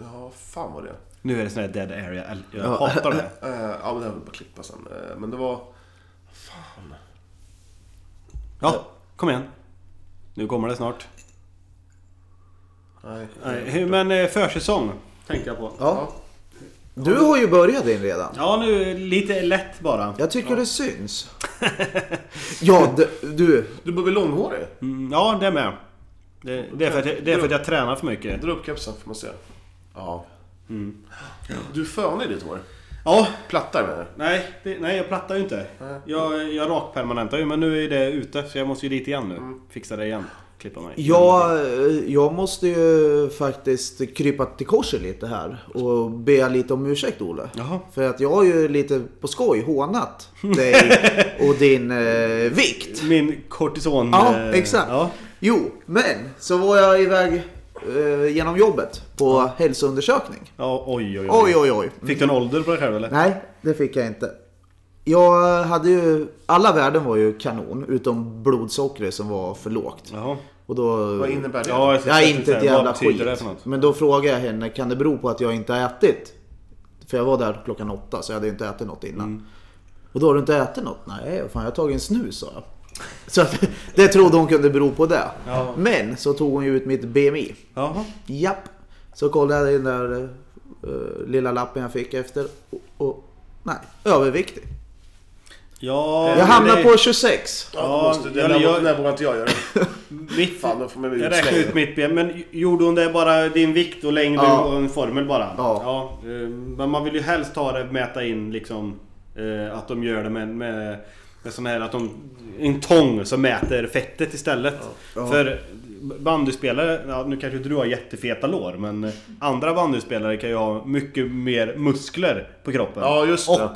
S3: ja, fan var det?
S4: Nu är det sån här dead area. Äl- Jag hatar det.
S3: Eh, ja, men det här vill bara klippa sen. Eh, men det var...
S4: Ja, kom igen. Nu kommer det snart.
S3: Nej.
S4: Nej, men eh, försäsong tänkte jag på.
S6: Ja. Du har ju börjat din redan.
S4: Ja, nu lite lätt bara.
S6: Jag tycker det syns. ja, d- du.
S3: Du börjar bli långhårig.
S4: Mm, ja, det med. Det, det, är för att jag, det är för att jag tränar för mycket.
S3: Dra upp kepsen får man se. Ja. Du fönar i ditt hår.
S4: Ja,
S3: Plattar menar jag.
S4: nej, det, nej jag plattar ju inte. Jag, jag rakpermanentar ju, men nu är det ute så jag måste ju dit igen nu.
S6: Mm.
S4: Fixa det igen. Klippa mig.
S6: Jag, jag måste ju faktiskt krypa till korset lite här och be lite om ursäkt Olle.
S4: Jaha.
S6: För att jag har ju lite på skoj hånat dig och din eh, vikt.
S4: Min kortison...
S6: Ja,
S4: eh,
S6: exakt.
S4: Ja.
S6: Jo, men så var jag iväg eh, genom jobbet på hälsoundersökning.
S4: ja oj, oj, oj.
S6: Oj, oj, oj. Mm.
S4: Fick du en ålder på dig själv eller?
S6: Nej, det fick jag inte. Jag hade ju, alla värden var ju kanon utom blodsockret som var för lågt.
S4: Jaha.
S6: Och då...
S3: Vad innebär det?
S4: Ja, jag
S6: Jag är inte ett jävla
S4: Vad betyder det
S6: skit.
S4: för något?
S6: Men då frågade jag henne, kan det bero på att jag inte har ätit? För jag var där klockan åtta så jag hade ju inte ätit något innan.
S4: Mm.
S6: Och då har du inte ätit något? Nej, fan jag har tagit en snus sa jag. Så att, det trodde hon kunde bero på det.
S4: Ja.
S6: Men så tog hon ju ut mitt BMI.
S4: Jaha.
S6: Japp. Så kollade jag den där eh, lilla lappen jag fick efter. Och, och nej, överviktig.
S4: Ja,
S6: Jag hamnade
S4: det-
S6: på 26.
S3: Ja,
S4: Ja,
S3: det måste, det
S4: jag-
S3: jag, när,
S4: jag-
S3: när vågar inte jag göra det?
S4: Mitt,
S3: Fan, då får man bli
S4: jag räknade ut
S3: utslängd.
S4: mitt ben, men gjorde hon det bara din vikt och längd
S6: Ja.
S4: och en formel bara?
S6: Ja.
S4: eh, Men man vill ju helst ta det, mäta in liksom eh, att de gör det med, med, med sån här att de... En tång som mäter fettet istället. För bandyspelare, ja, nu kanske inte du har jättefeta lår men eh, andra bandyspelare kan ju ha mycket mer muskler på kroppen.
S3: Ja, just det.
S4: Och,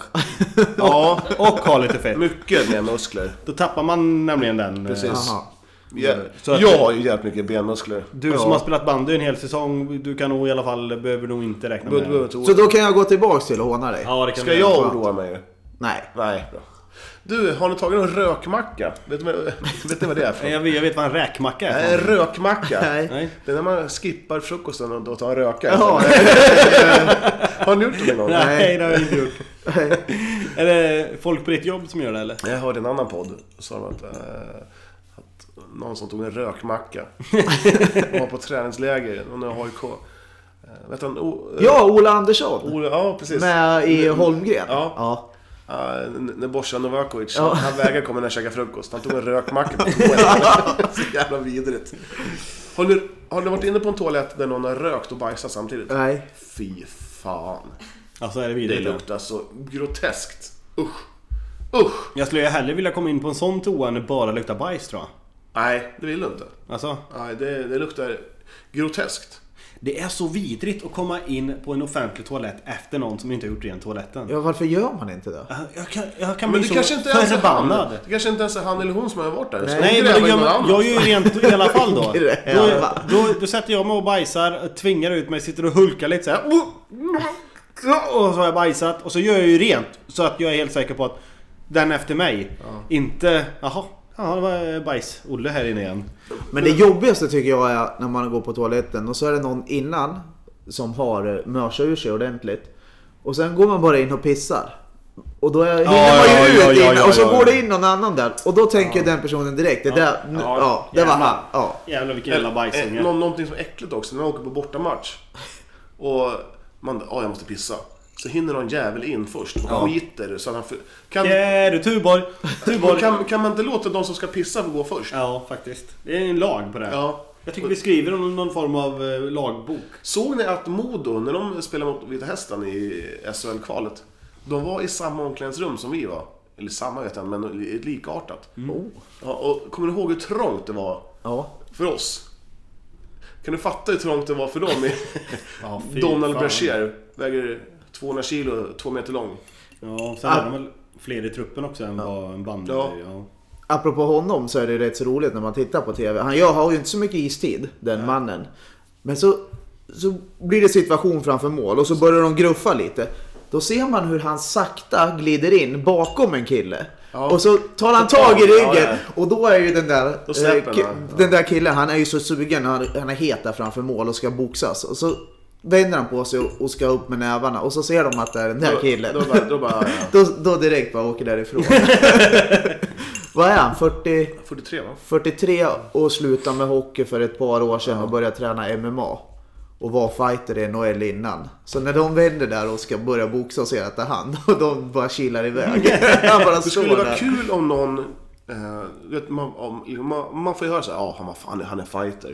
S4: ja, och ha lite fett.
S3: Mycket mer muskler.
S4: Då tappar man nämligen den. eh,
S3: Precis.
S6: Aha.
S3: Jag,
S4: Så att-
S3: jag har ju jävligt mycket benmuskler.
S4: Du som har spelat bandy en hel säsong, du kan nog i alla fall, behöver nog inte räkna
S3: Behöver- behöver
S4: med...
S3: inte
S6: Så
S3: oroa-
S6: då kan jag gå tillbaks till och håna dig?
S4: Ja, det kan
S3: Ska
S4: vi
S3: jag
S4: göra.
S3: oroa mig?
S6: Nej.
S3: Nej. Bra. Du, har ni tagit en rökmacka? Vet ni, vad- vet ni vad det är för
S4: Nej,
S3: något?
S4: Jag vet, jag vet vad en räkmacka
S3: Nej,
S4: är.
S3: En rökmacka?
S6: Nej.
S4: Nej.
S3: Det är när man skippar frukosten och då tar en röka.
S6: Ja.
S3: Har ni gjort det någon gång?
S4: Nej, det har jag inte gjort. är det folk på ditt jobb som gör det eller?
S3: Jag hörde en annan podd. Då sa de att, eh, att någon som tog en rökmacka och var på träningsläger, någon i AIK. Eh, Vet han, o, eh,
S6: Ja, Ola Andersson.
S3: Ola, ja, precis.
S6: Med i Holmgren?
S3: Ja. Ah, n- när Borsa Novakovic,
S6: Ja.
S3: han vägrade komma när jag käkade frukost. Han tog en rökmacka på toaletten. Så jävla vidrigt. Har ni, har ni varit inne på en toalett där någon har rökt och bajsat samtidigt?
S6: Nej.
S3: Fy fan.
S4: Alltså är Äh. det
S3: Det
S4: vidrigt.
S3: luktar så groteskt. Usch.
S4: Jag skulle ju hellre vilja komma in på en sån toa än det bara luktar bajs tror jag.
S3: Nej, det vill du inte.
S4: Alltså,
S3: Nej, det, det luktar groteskt.
S4: det är så vidrigt att komma in på en offentlig toalett efter någon som inte har gjort rent toaletten.
S6: Ja, varför gör man inte det?
S4: Jag kan, jag kan
S3: Men
S4: bli
S3: det
S4: så
S3: kanske inte ens är han.
S4: förbannad.
S3: Det kanske inte ens är han eller hon som har varit där. Ska de
S4: Nej, men
S3: gräva
S4: då
S3: i
S4: gör
S3: någon annan?
S4: man, jag är ju rent i alla fall då. Då,
S6: Gräva.
S4: då, då sätter jag mig och bajsar, tvingar ut mig, sitter och hulkar lite så här. Oh, Och så har jag bajsat och så gör jag ju rent. Så att jag är helt säker på att den efter mig inte... Jaha, ja, det var bajs-Olle här inne igen.
S6: Men det jobbigaste tycker jag är när man går på toaletten och så är det någon innan som har eh, mörsat ur sig ordentligt. Och sen går man bara in och pissar. Och då är, hinner
S4: ja,
S6: man ju
S4: ja,
S6: ut
S4: ja,
S6: in
S4: ja,
S6: och så
S4: ja, ja.
S6: går det in någon annan där. Och då tänker den personen direkt, det där, nu-
S3: Ja.
S6: ja, det var
S4: Jävlar.
S6: han. Ja.
S4: Jävlar vilken jävla
S3: Eh,
S4: bajsunge.
S3: nå- någonting som är äckligt också, när man åker på bortamatch och man ja jag måste pissa. Så hinner någon jävel in först och skiter så att han... för- Kan,
S4: Yeah, du Tuborg! Tuborg!
S3: kan, kan man inte låta de som ska pissa få gå först?
S4: Ja, faktiskt. Det är en lag på det. här.
S3: Ja.
S4: Jag tycker vi skriver om någon form av eh, lagbok.
S3: Såg ni att Modo, när de spelade mot Vita Hästen i SHL-kvalet, de var i samma omklädningsrum som vi var. Eller samma vet jag men li- likartat.
S4: Oh.
S3: Ja, och kommer du ihåg hur trångt det var
S6: Ja.
S3: för oss? Kan du fatta hur trångt det var för dem? i-
S4: Ja, fy
S3: Donald
S4: fan.
S3: Brashear väger 200 kilo, två meter lång.
S4: Ja, sen
S6: Ah.
S4: är de väl fler i truppen också än vad en bandy
S3: Ja.
S4: ja.
S6: Apropå honom så är det rätt så roligt när man tittar på TV. Han jag har ju inte så mycket istid, den mannen. Men så, så blir det situation framför mål och så börjar de gruffa lite. Då ser man hur han sakta glider in bakom en kille. Och så tar han tag i
S3: Ja,
S6: ryggen. Och då är ju den där, eh,
S3: Då släpper
S6: ki-
S3: han.
S6: den där killen, han är ju så sugen. Han, han är het där framför mål och ska boxas. Och så vänder han på sig och, och ska upp med nävarna. Och så ser de att det är den där killen.
S3: Då, då bara, då bara
S6: Då, då direkt bara åker därifrån. Vad är han? 40,
S3: 43 va?
S6: 43 och slutade med hockey för ett par år sedan och började träna MMA. Och var fighter i NHL innan. Så när de vänder där och ska börja boxa och ser att det är han, och de bara kilar iväg. Han bara
S3: Det skulle
S6: står
S3: vara
S6: där.
S3: kul om någon... Eh, du vet, man, om, man, man får ju höra såhär, ja han, var fan, han är fighter.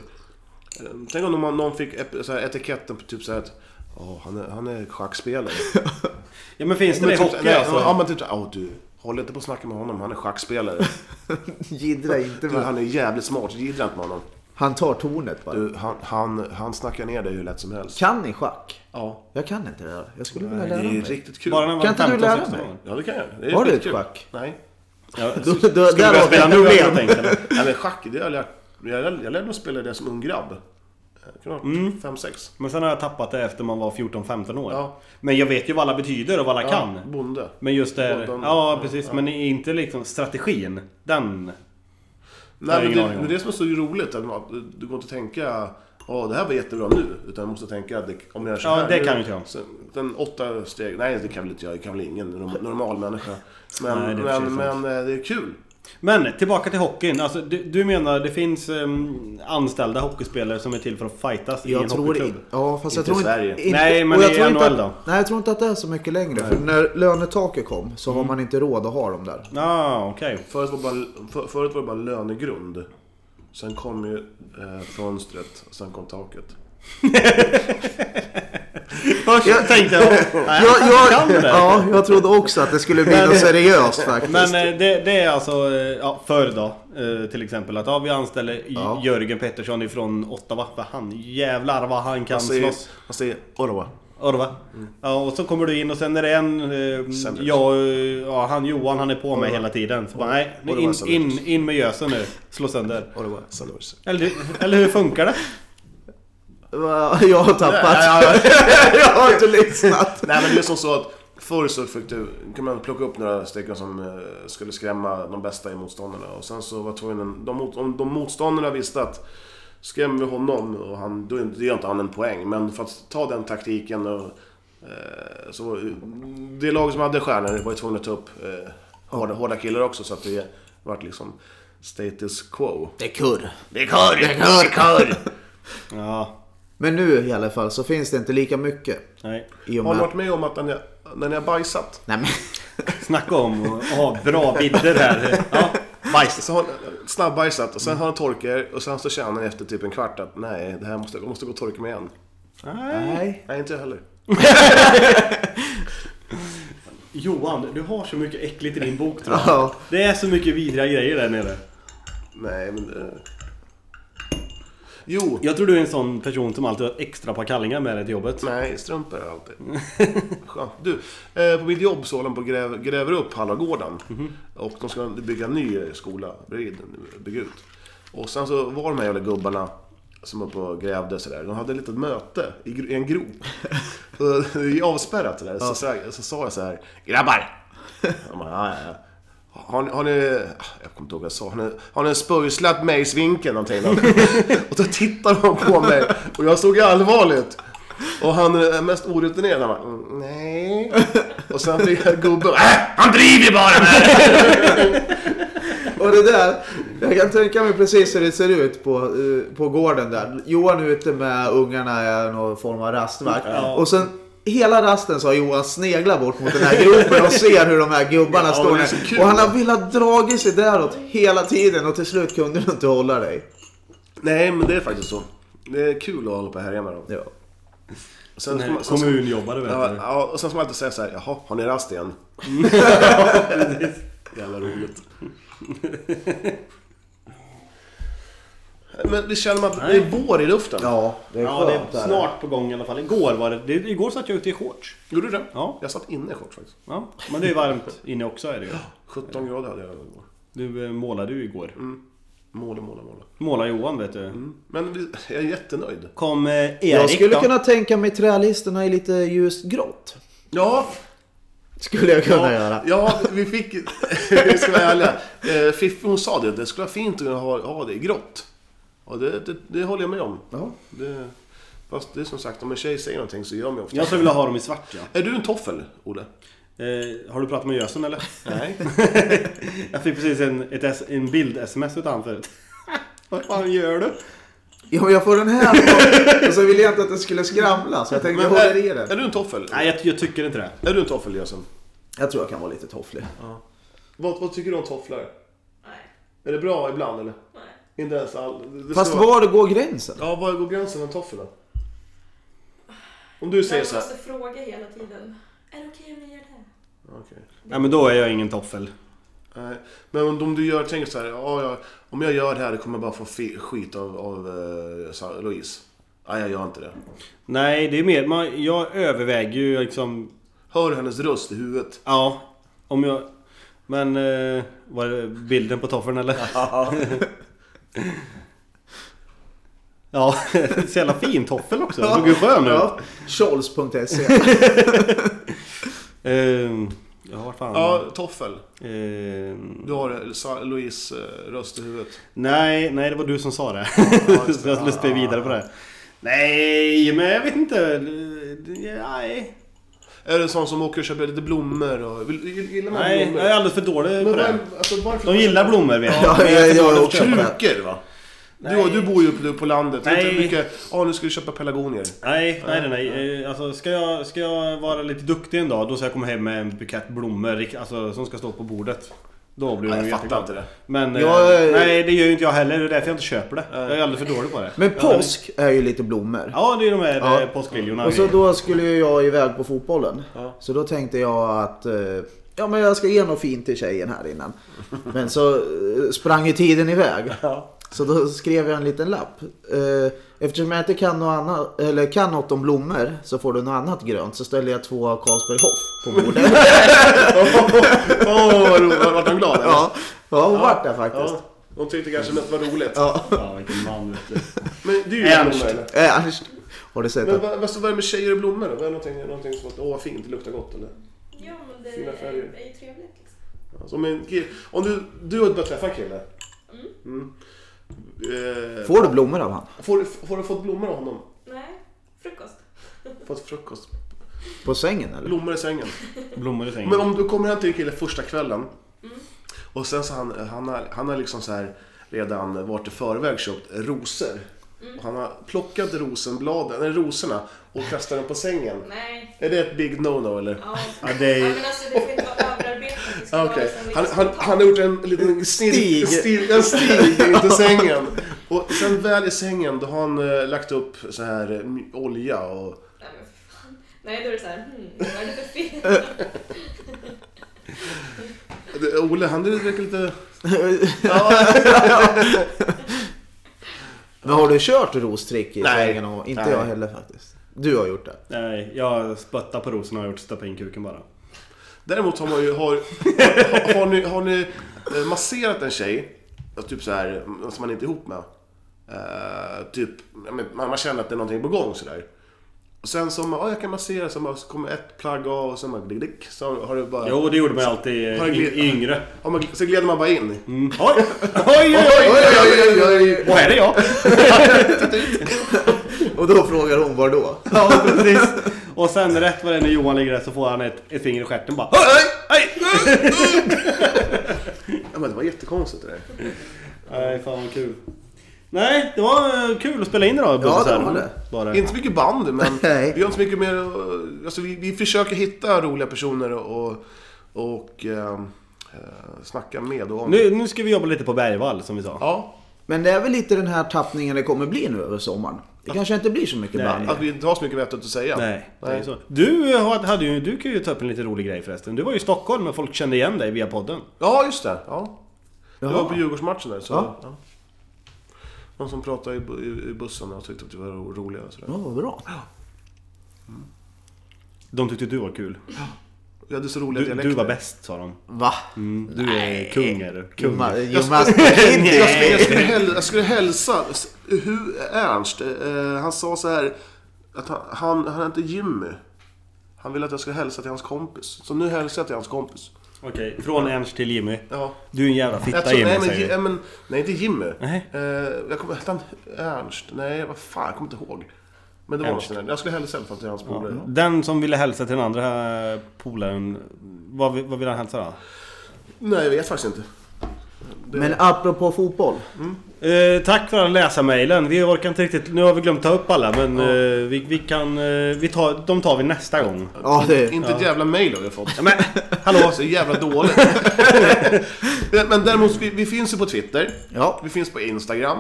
S3: Eh, Tänk om någon, någon fick ep- så här, etiketten på typ såhär att, ja han, är, han är schackspelare.
S4: ja men finns det
S3: Men
S4: det i
S3: typ,
S4: hockey
S3: nej,
S4: alltså?
S3: Ja men typ såhär, åh du, håll inte på och snacka med honom, han är schackspelare.
S6: Jiddra inte
S3: Du,
S6: med han.
S3: han är jävligt smart, gidra inte med honom.
S6: Han tar tornet bara.
S3: Du, han, han, han snackar ner dig hur lätt som helst.
S6: Kan ni schack?
S3: Ja.
S6: Jag kan inte det där. Jag skulle vilja
S3: Det
S6: lära
S3: är
S6: mig.
S3: riktigt kul.
S4: Bara när man
S6: Kan inte du lära
S4: 15-16
S6: mig?
S4: år.
S3: Ja det kan jag. Det är
S6: Har du
S3: skitkul.
S6: ett schack?
S3: Nej.
S4: Ja,
S6: Då, då,
S4: ska du
S6: där
S4: börja
S6: har vi
S4: spela
S6: ett
S4: nu helt
S6: problem.
S4: enkelt? eller?
S3: Nej men schack, det har jag lärt Jag, jag lärde mig spela det som ung grabb. Jag kan ha varit 5-6.
S4: Men sen har jag tappat det efter man var 14-15 år.
S3: Ja.
S4: Men jag vet ju vad alla betyder och vad alla
S3: Ja,
S4: kan.
S3: bonde.
S4: Men just det...
S3: Båda-
S4: Ja precis, men inte liksom strategin. Den... har
S3: Nej, men
S4: ingen
S3: det,
S4: aning om.
S3: men det som är så roligt är att du går inte att tänka Åh, det här var jättebra nu. Utan du måste tänka att det, om jag gör så
S4: Ja,
S3: här
S4: det
S3: nu,
S4: kan inte jag.
S3: så- Den åtta steg. Nej, det kan väl inte jag. Det kan väl ingen norm- normal människa. Men,
S4: Nej, det är
S3: men,
S4: precis sant.
S3: men eh, det är kul.
S4: Men tillbaka till hockeyn. Alltså, du, du menar det finns ehm, anställda hockeyspelare som är till för att fightas i en
S6: Jag tror
S4: hockeyklubb?
S6: inte... Ja, fast
S3: Inte
S6: jag
S3: i
S6: tror
S3: Sverige.
S6: inte... inte
S4: Nej, men
S6: och jag
S4: i
S6: tror inte
S4: NHL
S6: att-
S4: då?
S6: Nej, jag tror inte att det är så mycket längre. För när lönetaket kom så
S4: Mm.
S6: har man inte råd att ha dem där.
S4: Ja, ah, okej.
S3: Förut var det bara, för, förut var det bara lönegrund. Sen kom ju eh, fönstret och sen kom taket.
S4: Först tänkte jag... Nej,
S6: Jag,
S4: kan
S6: jag,
S4: det.
S6: ja, jag trodde också att det skulle bli något seriöst faktiskt.
S4: Men eh, det, det är alltså, eh, ja, förr då eh, till exempel att ja, vi anställer J-
S6: Ja.
S4: Jörgen Pettersson ifrån Ottawa. För han, jävlar vad han kan
S3: Man säger,
S4: slåss.
S3: man säger Orwa.
S4: Orva. Ja, och så kommer du in och sen är det en... Eh,
S3: Sämre.
S4: ja, eh, ja, han Johan han är på mig hela tiden. Så bara, nej, nu
S3: Orva
S4: in,
S3: sämre.
S4: in, in med gösen nu. Slå sönder.
S3: Orwa Sanders.
S4: Eller, eller hur funkar det?
S6: Va, Jag har tappat. Jag har inte lyssnat.
S3: Nej men det är som så att förr så fick du, kan man plocka upp några stycken som eh, skulle skrämma de bästa i motståndarna. Och sen så var tvungen, de, mot- om de motståndarna visste att skrämmer vi honom, och han, då är inte- det gör inte han en poäng. Men för att ta den taktiken och eh, så, det lag som hade stjärnor var ju tvungna att ta upp eh, hårda, hårda killar också så att det vart liksom status quo.
S6: Det är kurr.
S3: Det är kör, det är kör.
S4: Ja,
S6: Men nu i alla fall så finns det inte lika mycket.
S4: nej.
S6: I och
S3: Har ni
S6: med...
S3: varit med om att när ni, när ni har bajsat
S6: Nej men.
S4: Snacka om att ha bra bilder här. Ja, bajs.
S3: Så har han snabbbajsat och sen har han torkar och sen så känner han efter typ en kvart att nej, det här måste, jag måste gå och torka mig igen.
S6: Nej.
S3: Nej, inte jag heller.
S4: Johan, du har så mycket äckligt i din bok tror jag.
S6: Ja.
S4: Det är så mycket vidriga grejer där nere.
S3: Nej, men... eh. Jo!
S4: Jag tror du är en sån person som alltid har ett extra par kallingar med dig till jobbet.
S3: Nej, strumpor har jag alltid. Skönt. Du, eh, på mitt jobb så håller de på och gräv, gräver upp Hallagården. Och de ska bygga en ny skola bredvid, bygga ut. Och sen så var de här jävla gubbarna som var uppe och grävde sådär. De hade ett litet möte i, gro- i en grop. Så det är avspärrat sådär. Så, så, så sa jag så här. Grabbar! De bara, ja, ja, ja. Har ni, har ni, jag kommer inte ihåg vad jag sa, har ni, har ni spöjslat mig i svinken någonting? och då tittar de på mig och jag såg allvarligt. Och han är mest orutinerad, han bara, "Mm, nej. Och sen fick jag gubben, äh, han driver ju bara med det."
S6: Och det där, jag kan tänka mig precis hur det ser ut på, eh, på gården där. Johan är ute med ungarna i någon form av rastvakt. Och sen hela rasten så har Johan sneglat bort mot den här gruppen och ser hur de här gubbarna
S3: Ja,
S6: står
S3: det är så kul.
S6: där. Och han har velat dra sig däråt hela tiden och till slut kunde du inte hålla dig.
S3: Nej, men det är faktiskt så. Det är kul att hålla på och härja med dem.
S6: Ja.
S3: Sen, får
S4: Den här
S3: man- sen, sen,
S4: Kommunjobbare vet
S3: ja,
S4: du.
S3: ja, och sen ska man alltid säga så här, jaha, har ni rast igen? Jävla roligt. Men vi känner man att det är vår i luften?
S6: Ja, det är
S4: Ja, det
S6: skönt.
S4: är snart på gång i alla fall. Igår var det... det igår satt jag ute i shorts.
S3: Gjorde du det?
S4: Ja.
S3: Jag satt inne i shorts faktiskt.
S4: Ja, men det är varmt inne också är det ju.
S3: 17 grader hade jag igår.
S4: Du eh, målade ju igår.
S3: Måla, måla, måla.
S4: Måla Johan vet du.
S3: Men vi, jag är jättenöjd.
S4: Kom eh, Erik
S6: Jag skulle
S4: då.
S6: kunna tänka mig trälistorna i lite ljust grått.
S3: Ja,
S6: Skulle jag kunna göra.
S3: Ja, vi fick... Vi ska vara ärliga. Eh, Fiffi hon sa det, det skulle vara fint att ha, ha det i grått. Och det, det, det håller jag med om.
S6: Ja.
S3: Det, fast det är som sagt, om en tjej säger någonting så gör man ju ofta.
S4: Jag skulle vilja ha dem i svart ja.
S3: Är du en toffel, Olle?
S4: Eh, har du pratat med Gösen eller?
S3: Nej.
S4: Jag fick precis en, ett, S- en bild-sms utav han förut. Vad fan gör du?
S6: Ja, men jag får den här på- och så ville jag inte att den skulle skramla så jag tänkte jag håller i
S3: är, är
S6: den.
S3: du en toffel?
S4: Nej, jag, jag tycker inte det.
S3: Är du en toffel, Jösen?
S6: Jag tror jag kan vara lite tofflig.
S3: Vad, vad tycker du om tofflor?
S7: Nej.
S3: Är det bra ibland eller?
S7: Nej.
S3: Inte ens all... det- det
S6: Fast
S3: ska vara-
S6: var går gränsen?
S3: Ja, var går gränsen med toffel då? Om du säger
S7: Man
S3: så här...
S7: måste fråga hela tiden. Är det okej om vi gör det?
S3: Okej.
S4: Nej, men då är jag ingen toffel.
S3: Nej, men om om du gör, tänker så här, ja, jag, om jag gör det här kommer jag bara få fi- skit av, av eh, sa- Louise. Nej, jag gör inte det.
S4: Nej, det är mer... Man, jag överväger ju liksom...
S3: Hör hennes röst i huvudet.
S4: Ja, om jag... Men... Eh, var det bilden på toffeln eller? Ja. ja, så jävla fin toffel också. Den såg ju skön ut.
S6: Ja. Charles.se
S4: Ehm, ja, vart fan...
S6: Mm.
S3: Ja, toffel.
S4: Ehm,
S3: Du har eh, sa- Louise eh, röst i huvudet.
S4: nej, nej, det var du som sa det.
S3: just
S4: Så
S3: det.
S4: jag skulle spela vidare på det. Nej, men jag vet inte. Nej,
S3: Är det en sån som åker och köper lite blommor? Och, vill, gillar man
S4: nej
S3: blommor?
S4: jag är alldeles för dålig på
S3: men
S4: det.
S3: var, alltså, varför...
S4: De gillar blommor vet jag.
S6: Ja,
S4: men
S6: jag-
S4: är för
S6: jag
S4: dålig på
S6: också.
S4: att köpa.
S3: Krukor va? Du,
S4: Nej.
S3: du bor ju uppe på landet. Det är
S4: Nej.
S3: Inte mycket, ja nu ska vi köpa pelargonier.
S4: Nej, nej, nej. nej. Eh, Alltså, ska, jag, ska jag vara lite duktig en dag, då ska jag komma hem med en bukett blommor rikt- alltså, som ska stå på bordet. Då blir
S3: Nej,
S4: de
S3: jag fattar
S4: jätteglada.
S3: inte det.
S4: Men eh,
S6: Jag-
S4: nej, det gör ju inte jag heller. Det är därför jag inte köper det. Jag är alldeles för dålig på det.
S6: Men påsk är ju lite blommor.
S4: Ja, det är de här
S6: Ja.
S4: ja. påskliljorna.
S6: Och så då skulle ju jag iväg på fotbollen. Så då tänkte jag att eh, ja, men jag ska ge något fint till tjejen här innan. Men så eh, sprang ju tiden iväg. Så då skrev jag en liten lapp. Eh, Eftersom jag inte kan något, annat, eller kan något om blommor så får du något annat grönt. Så ställde jag två Carlsberg Hoff på bordet.
S3: Åh, vad roligt. Vart de glada? eller?
S6: Ja, ja hon vart där faktiskt.
S3: Ja. De tyckte kanske mest var roligt.
S4: Fan vilken man vet du.
S3: Men du gillar
S4: Ernst.
S3: blommor eller?
S6: Eh, Ernst, har du sett
S3: Men
S6: att...
S3: vad, vad, vad är det med tjejer och blommor då? Vad är någonting, någonting som att åh vad fint, det luktar gott eller?
S7: Ja, men det
S3: Fina
S7: är,
S3: färger.
S7: är ju trevligt. Liksom.
S3: Alltså, om, en kille, om du, du har börjat träffa en kille. Mm. Eh,
S6: Får du blommor av han?
S3: får, du- får du fått blommor av honom?
S7: Nej, frukost.
S3: Fått frukost?
S6: På sängen eller?
S3: Blommor i sängen?
S4: Blommor i sängen.
S3: Men om du kommer hem till en kille första kvällen. Och sen så han, han har han har liksom så här redan varit i förväg köpt rosor. Och han har plockat rosenbladen, eller rosorna och kastat dem på sängen.
S7: Nej.
S3: Är det ett big no-no eller?
S7: Ja.
S4: Ja, det är-
S7: ja, men alltså det får inte vara ska
S3: Ah,
S7: vara
S3: Okej.
S7: liksom
S3: Han,
S7: lite
S3: han,
S7: spontan.
S3: han har gjort en liten
S6: Stig.
S3: stig, stig, en stig in till sängen. Och sen väl i sängen då har han eh, lagt upp så här eh, mj- olja och...
S7: Nej, men för fan. Nej, då är det såhär, hmm, vad är det för fel?
S3: Eh. Det- Ole han verkar lite...
S6: Men har du kört rostrick i
S3: Nej.
S6: sängen? Och, inte
S3: Nej.
S6: jag heller faktiskt. Du har gjort det.
S4: Nej, jag spöttar på rosorna och har gjort stoppa in kuken bara.
S3: Däremot har man ju... Har, har, har, ni, har ni eh, masserat en tjej, ja, typ så här, mm, som man inte är ihop med. Eh, typ, ja, men man, man känner att det är någonting på gång sådär. Och sen så, ja jag kan massera, så, bara, så kommer ett plagg av och sen bara, dick, dick, så har du bara...
S4: Jo, det gjorde man ju alltid eh,
S3: Har jag
S4: i,
S3: glid-
S4: i yngre.
S3: Har man, så glider man bara in.
S4: Oj! Oj, oj,
S3: Oj,
S4: oj!
S3: oj, oj, oj, oj.
S4: Och här är jag!
S6: Och då frågar hon var då?
S4: Ja, precis. Och sen rätt vad det är när Johan ligger där så får han ett, ett finger i stjärten bara.
S3: Ja, men det var jättekonstigt det där.
S4: Nej, fan vad kul. Nej, det var eh, kul att spela in idag. Bosse,
S6: det
S4: så här.
S6: var det.
S4: Bara.
S3: Inte så mycket band, men
S6: Nej.
S3: vi har inte så mycket mer att- alltså, vi, vi försöker hitta roliga personer och, och eh, eh, snacka med. Och om.
S4: Nu, nu ska vi jobba lite på Bergvall som vi sa.
S3: Ja,
S6: Men det är väl lite den här tappningen det kommer bli nu över sommaren. Det kanske inte blir så mycket
S4: Nej.
S6: band.
S3: att vi inte har så mycket vettigt att säga.
S4: Nej, det är så. Du, eh, har- hade ju, du kan ju ta upp en lite rolig grej förresten. Du var ju i Stockholm men folk kände igen dig via podden.
S3: Ja, just det. Ja. Det
S6: Jaha.
S3: var på Djurgårdsmatchen där. Så,
S6: Ja.
S3: ja. Någon som pratade i, bu- i, i bussen och tyckte att vi var ro- roliga. Och sådär.
S6: Ja, vad bra.
S4: De tyckte du var kul.
S3: Vi hade så roliga
S4: Du, du var bäst sa de.
S6: Va?
S4: Mm, du är kung är du.
S6: You
S4: Kung.
S6: ma- you must be kidding.
S3: Jag skulle, jag, skulle häl, jag skulle hälsa S- hur Ernst. Eh, han sa så här att han, han, han heter Jimmy. Han ville att jag skulle hälsa till hans kompis. Så nu hälsar jag till hans kompis.
S4: Okej, från Ernst till Jimmy.
S3: Ja.
S4: Du är en jävla
S3: Jag
S4: fitta
S3: tror,
S4: Jimmy
S3: nej, men,
S4: säger
S3: Ji-
S4: vi.
S3: nej, men, nej, inte Jimmy.
S4: Nej.
S3: Eh, jag kommer, hette han Ernst? Nej, vad fan, jag kommer inte ihåg. Men det var
S4: Ernst.
S3: något sånt där. Jag skulle hälsa i alla fall till hans polare.
S4: Den som ville hälsa till den andra eh, polaren, vad, vill- vad vill han hälsa då?
S3: Nej, jag vet faktiskt inte.
S6: Men apropå fotboll.
S4: Eh, tack för alla läsarmailen. Vi orkar inte riktigt, nu har vi glömt ta upp alla men eh, vi, vi kan, eh, vi tar, de tar vi nästa gång.
S6: Ja, det,
S3: Inte ett jävla mail har jag fått.
S4: Ja, Men,
S3: Hallå, så jävla dåligt. Men däremot, vi, vi finns ju på Twitter.
S6: ja.
S3: Vi finns på Instagram.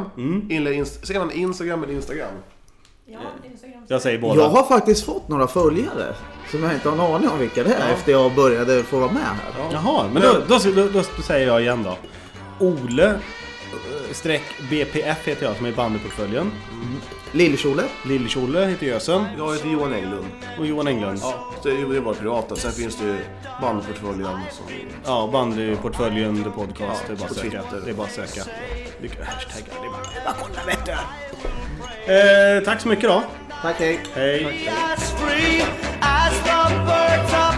S3: Eller inst- Säger man Instagram eller Instagram?
S7: Ja, Instagram.
S4: jag säger båda.
S6: Jag har faktiskt fått några följare. Som jag inte har en aning om vilka det är efter jag började få vara med här.
S4: Jaha, men då, då, då, då, säger jag igen då. Ole eh, streck BPF heter jag som är i bandyportföljen.
S6: Lillkjole.
S4: Lill-Tjolle heter Gösen.
S3: Jag heter Johan Englund.
S4: Och Johan Englund.
S3: Ja, det är ju det är bara pirater. Sen finns det ju bandportföljen som...
S4: Ja, bandyportföljen, The Podcast. det, är bara
S3: på
S4: att söka.
S3: Twitter.
S4: det är bara att söka. Vilka hashtaggar. Det är bara, det är bara att kolla vet du. Eh, tack så mycket då.
S6: Tack, hej.
S4: Hej.
S1: as free as the birds of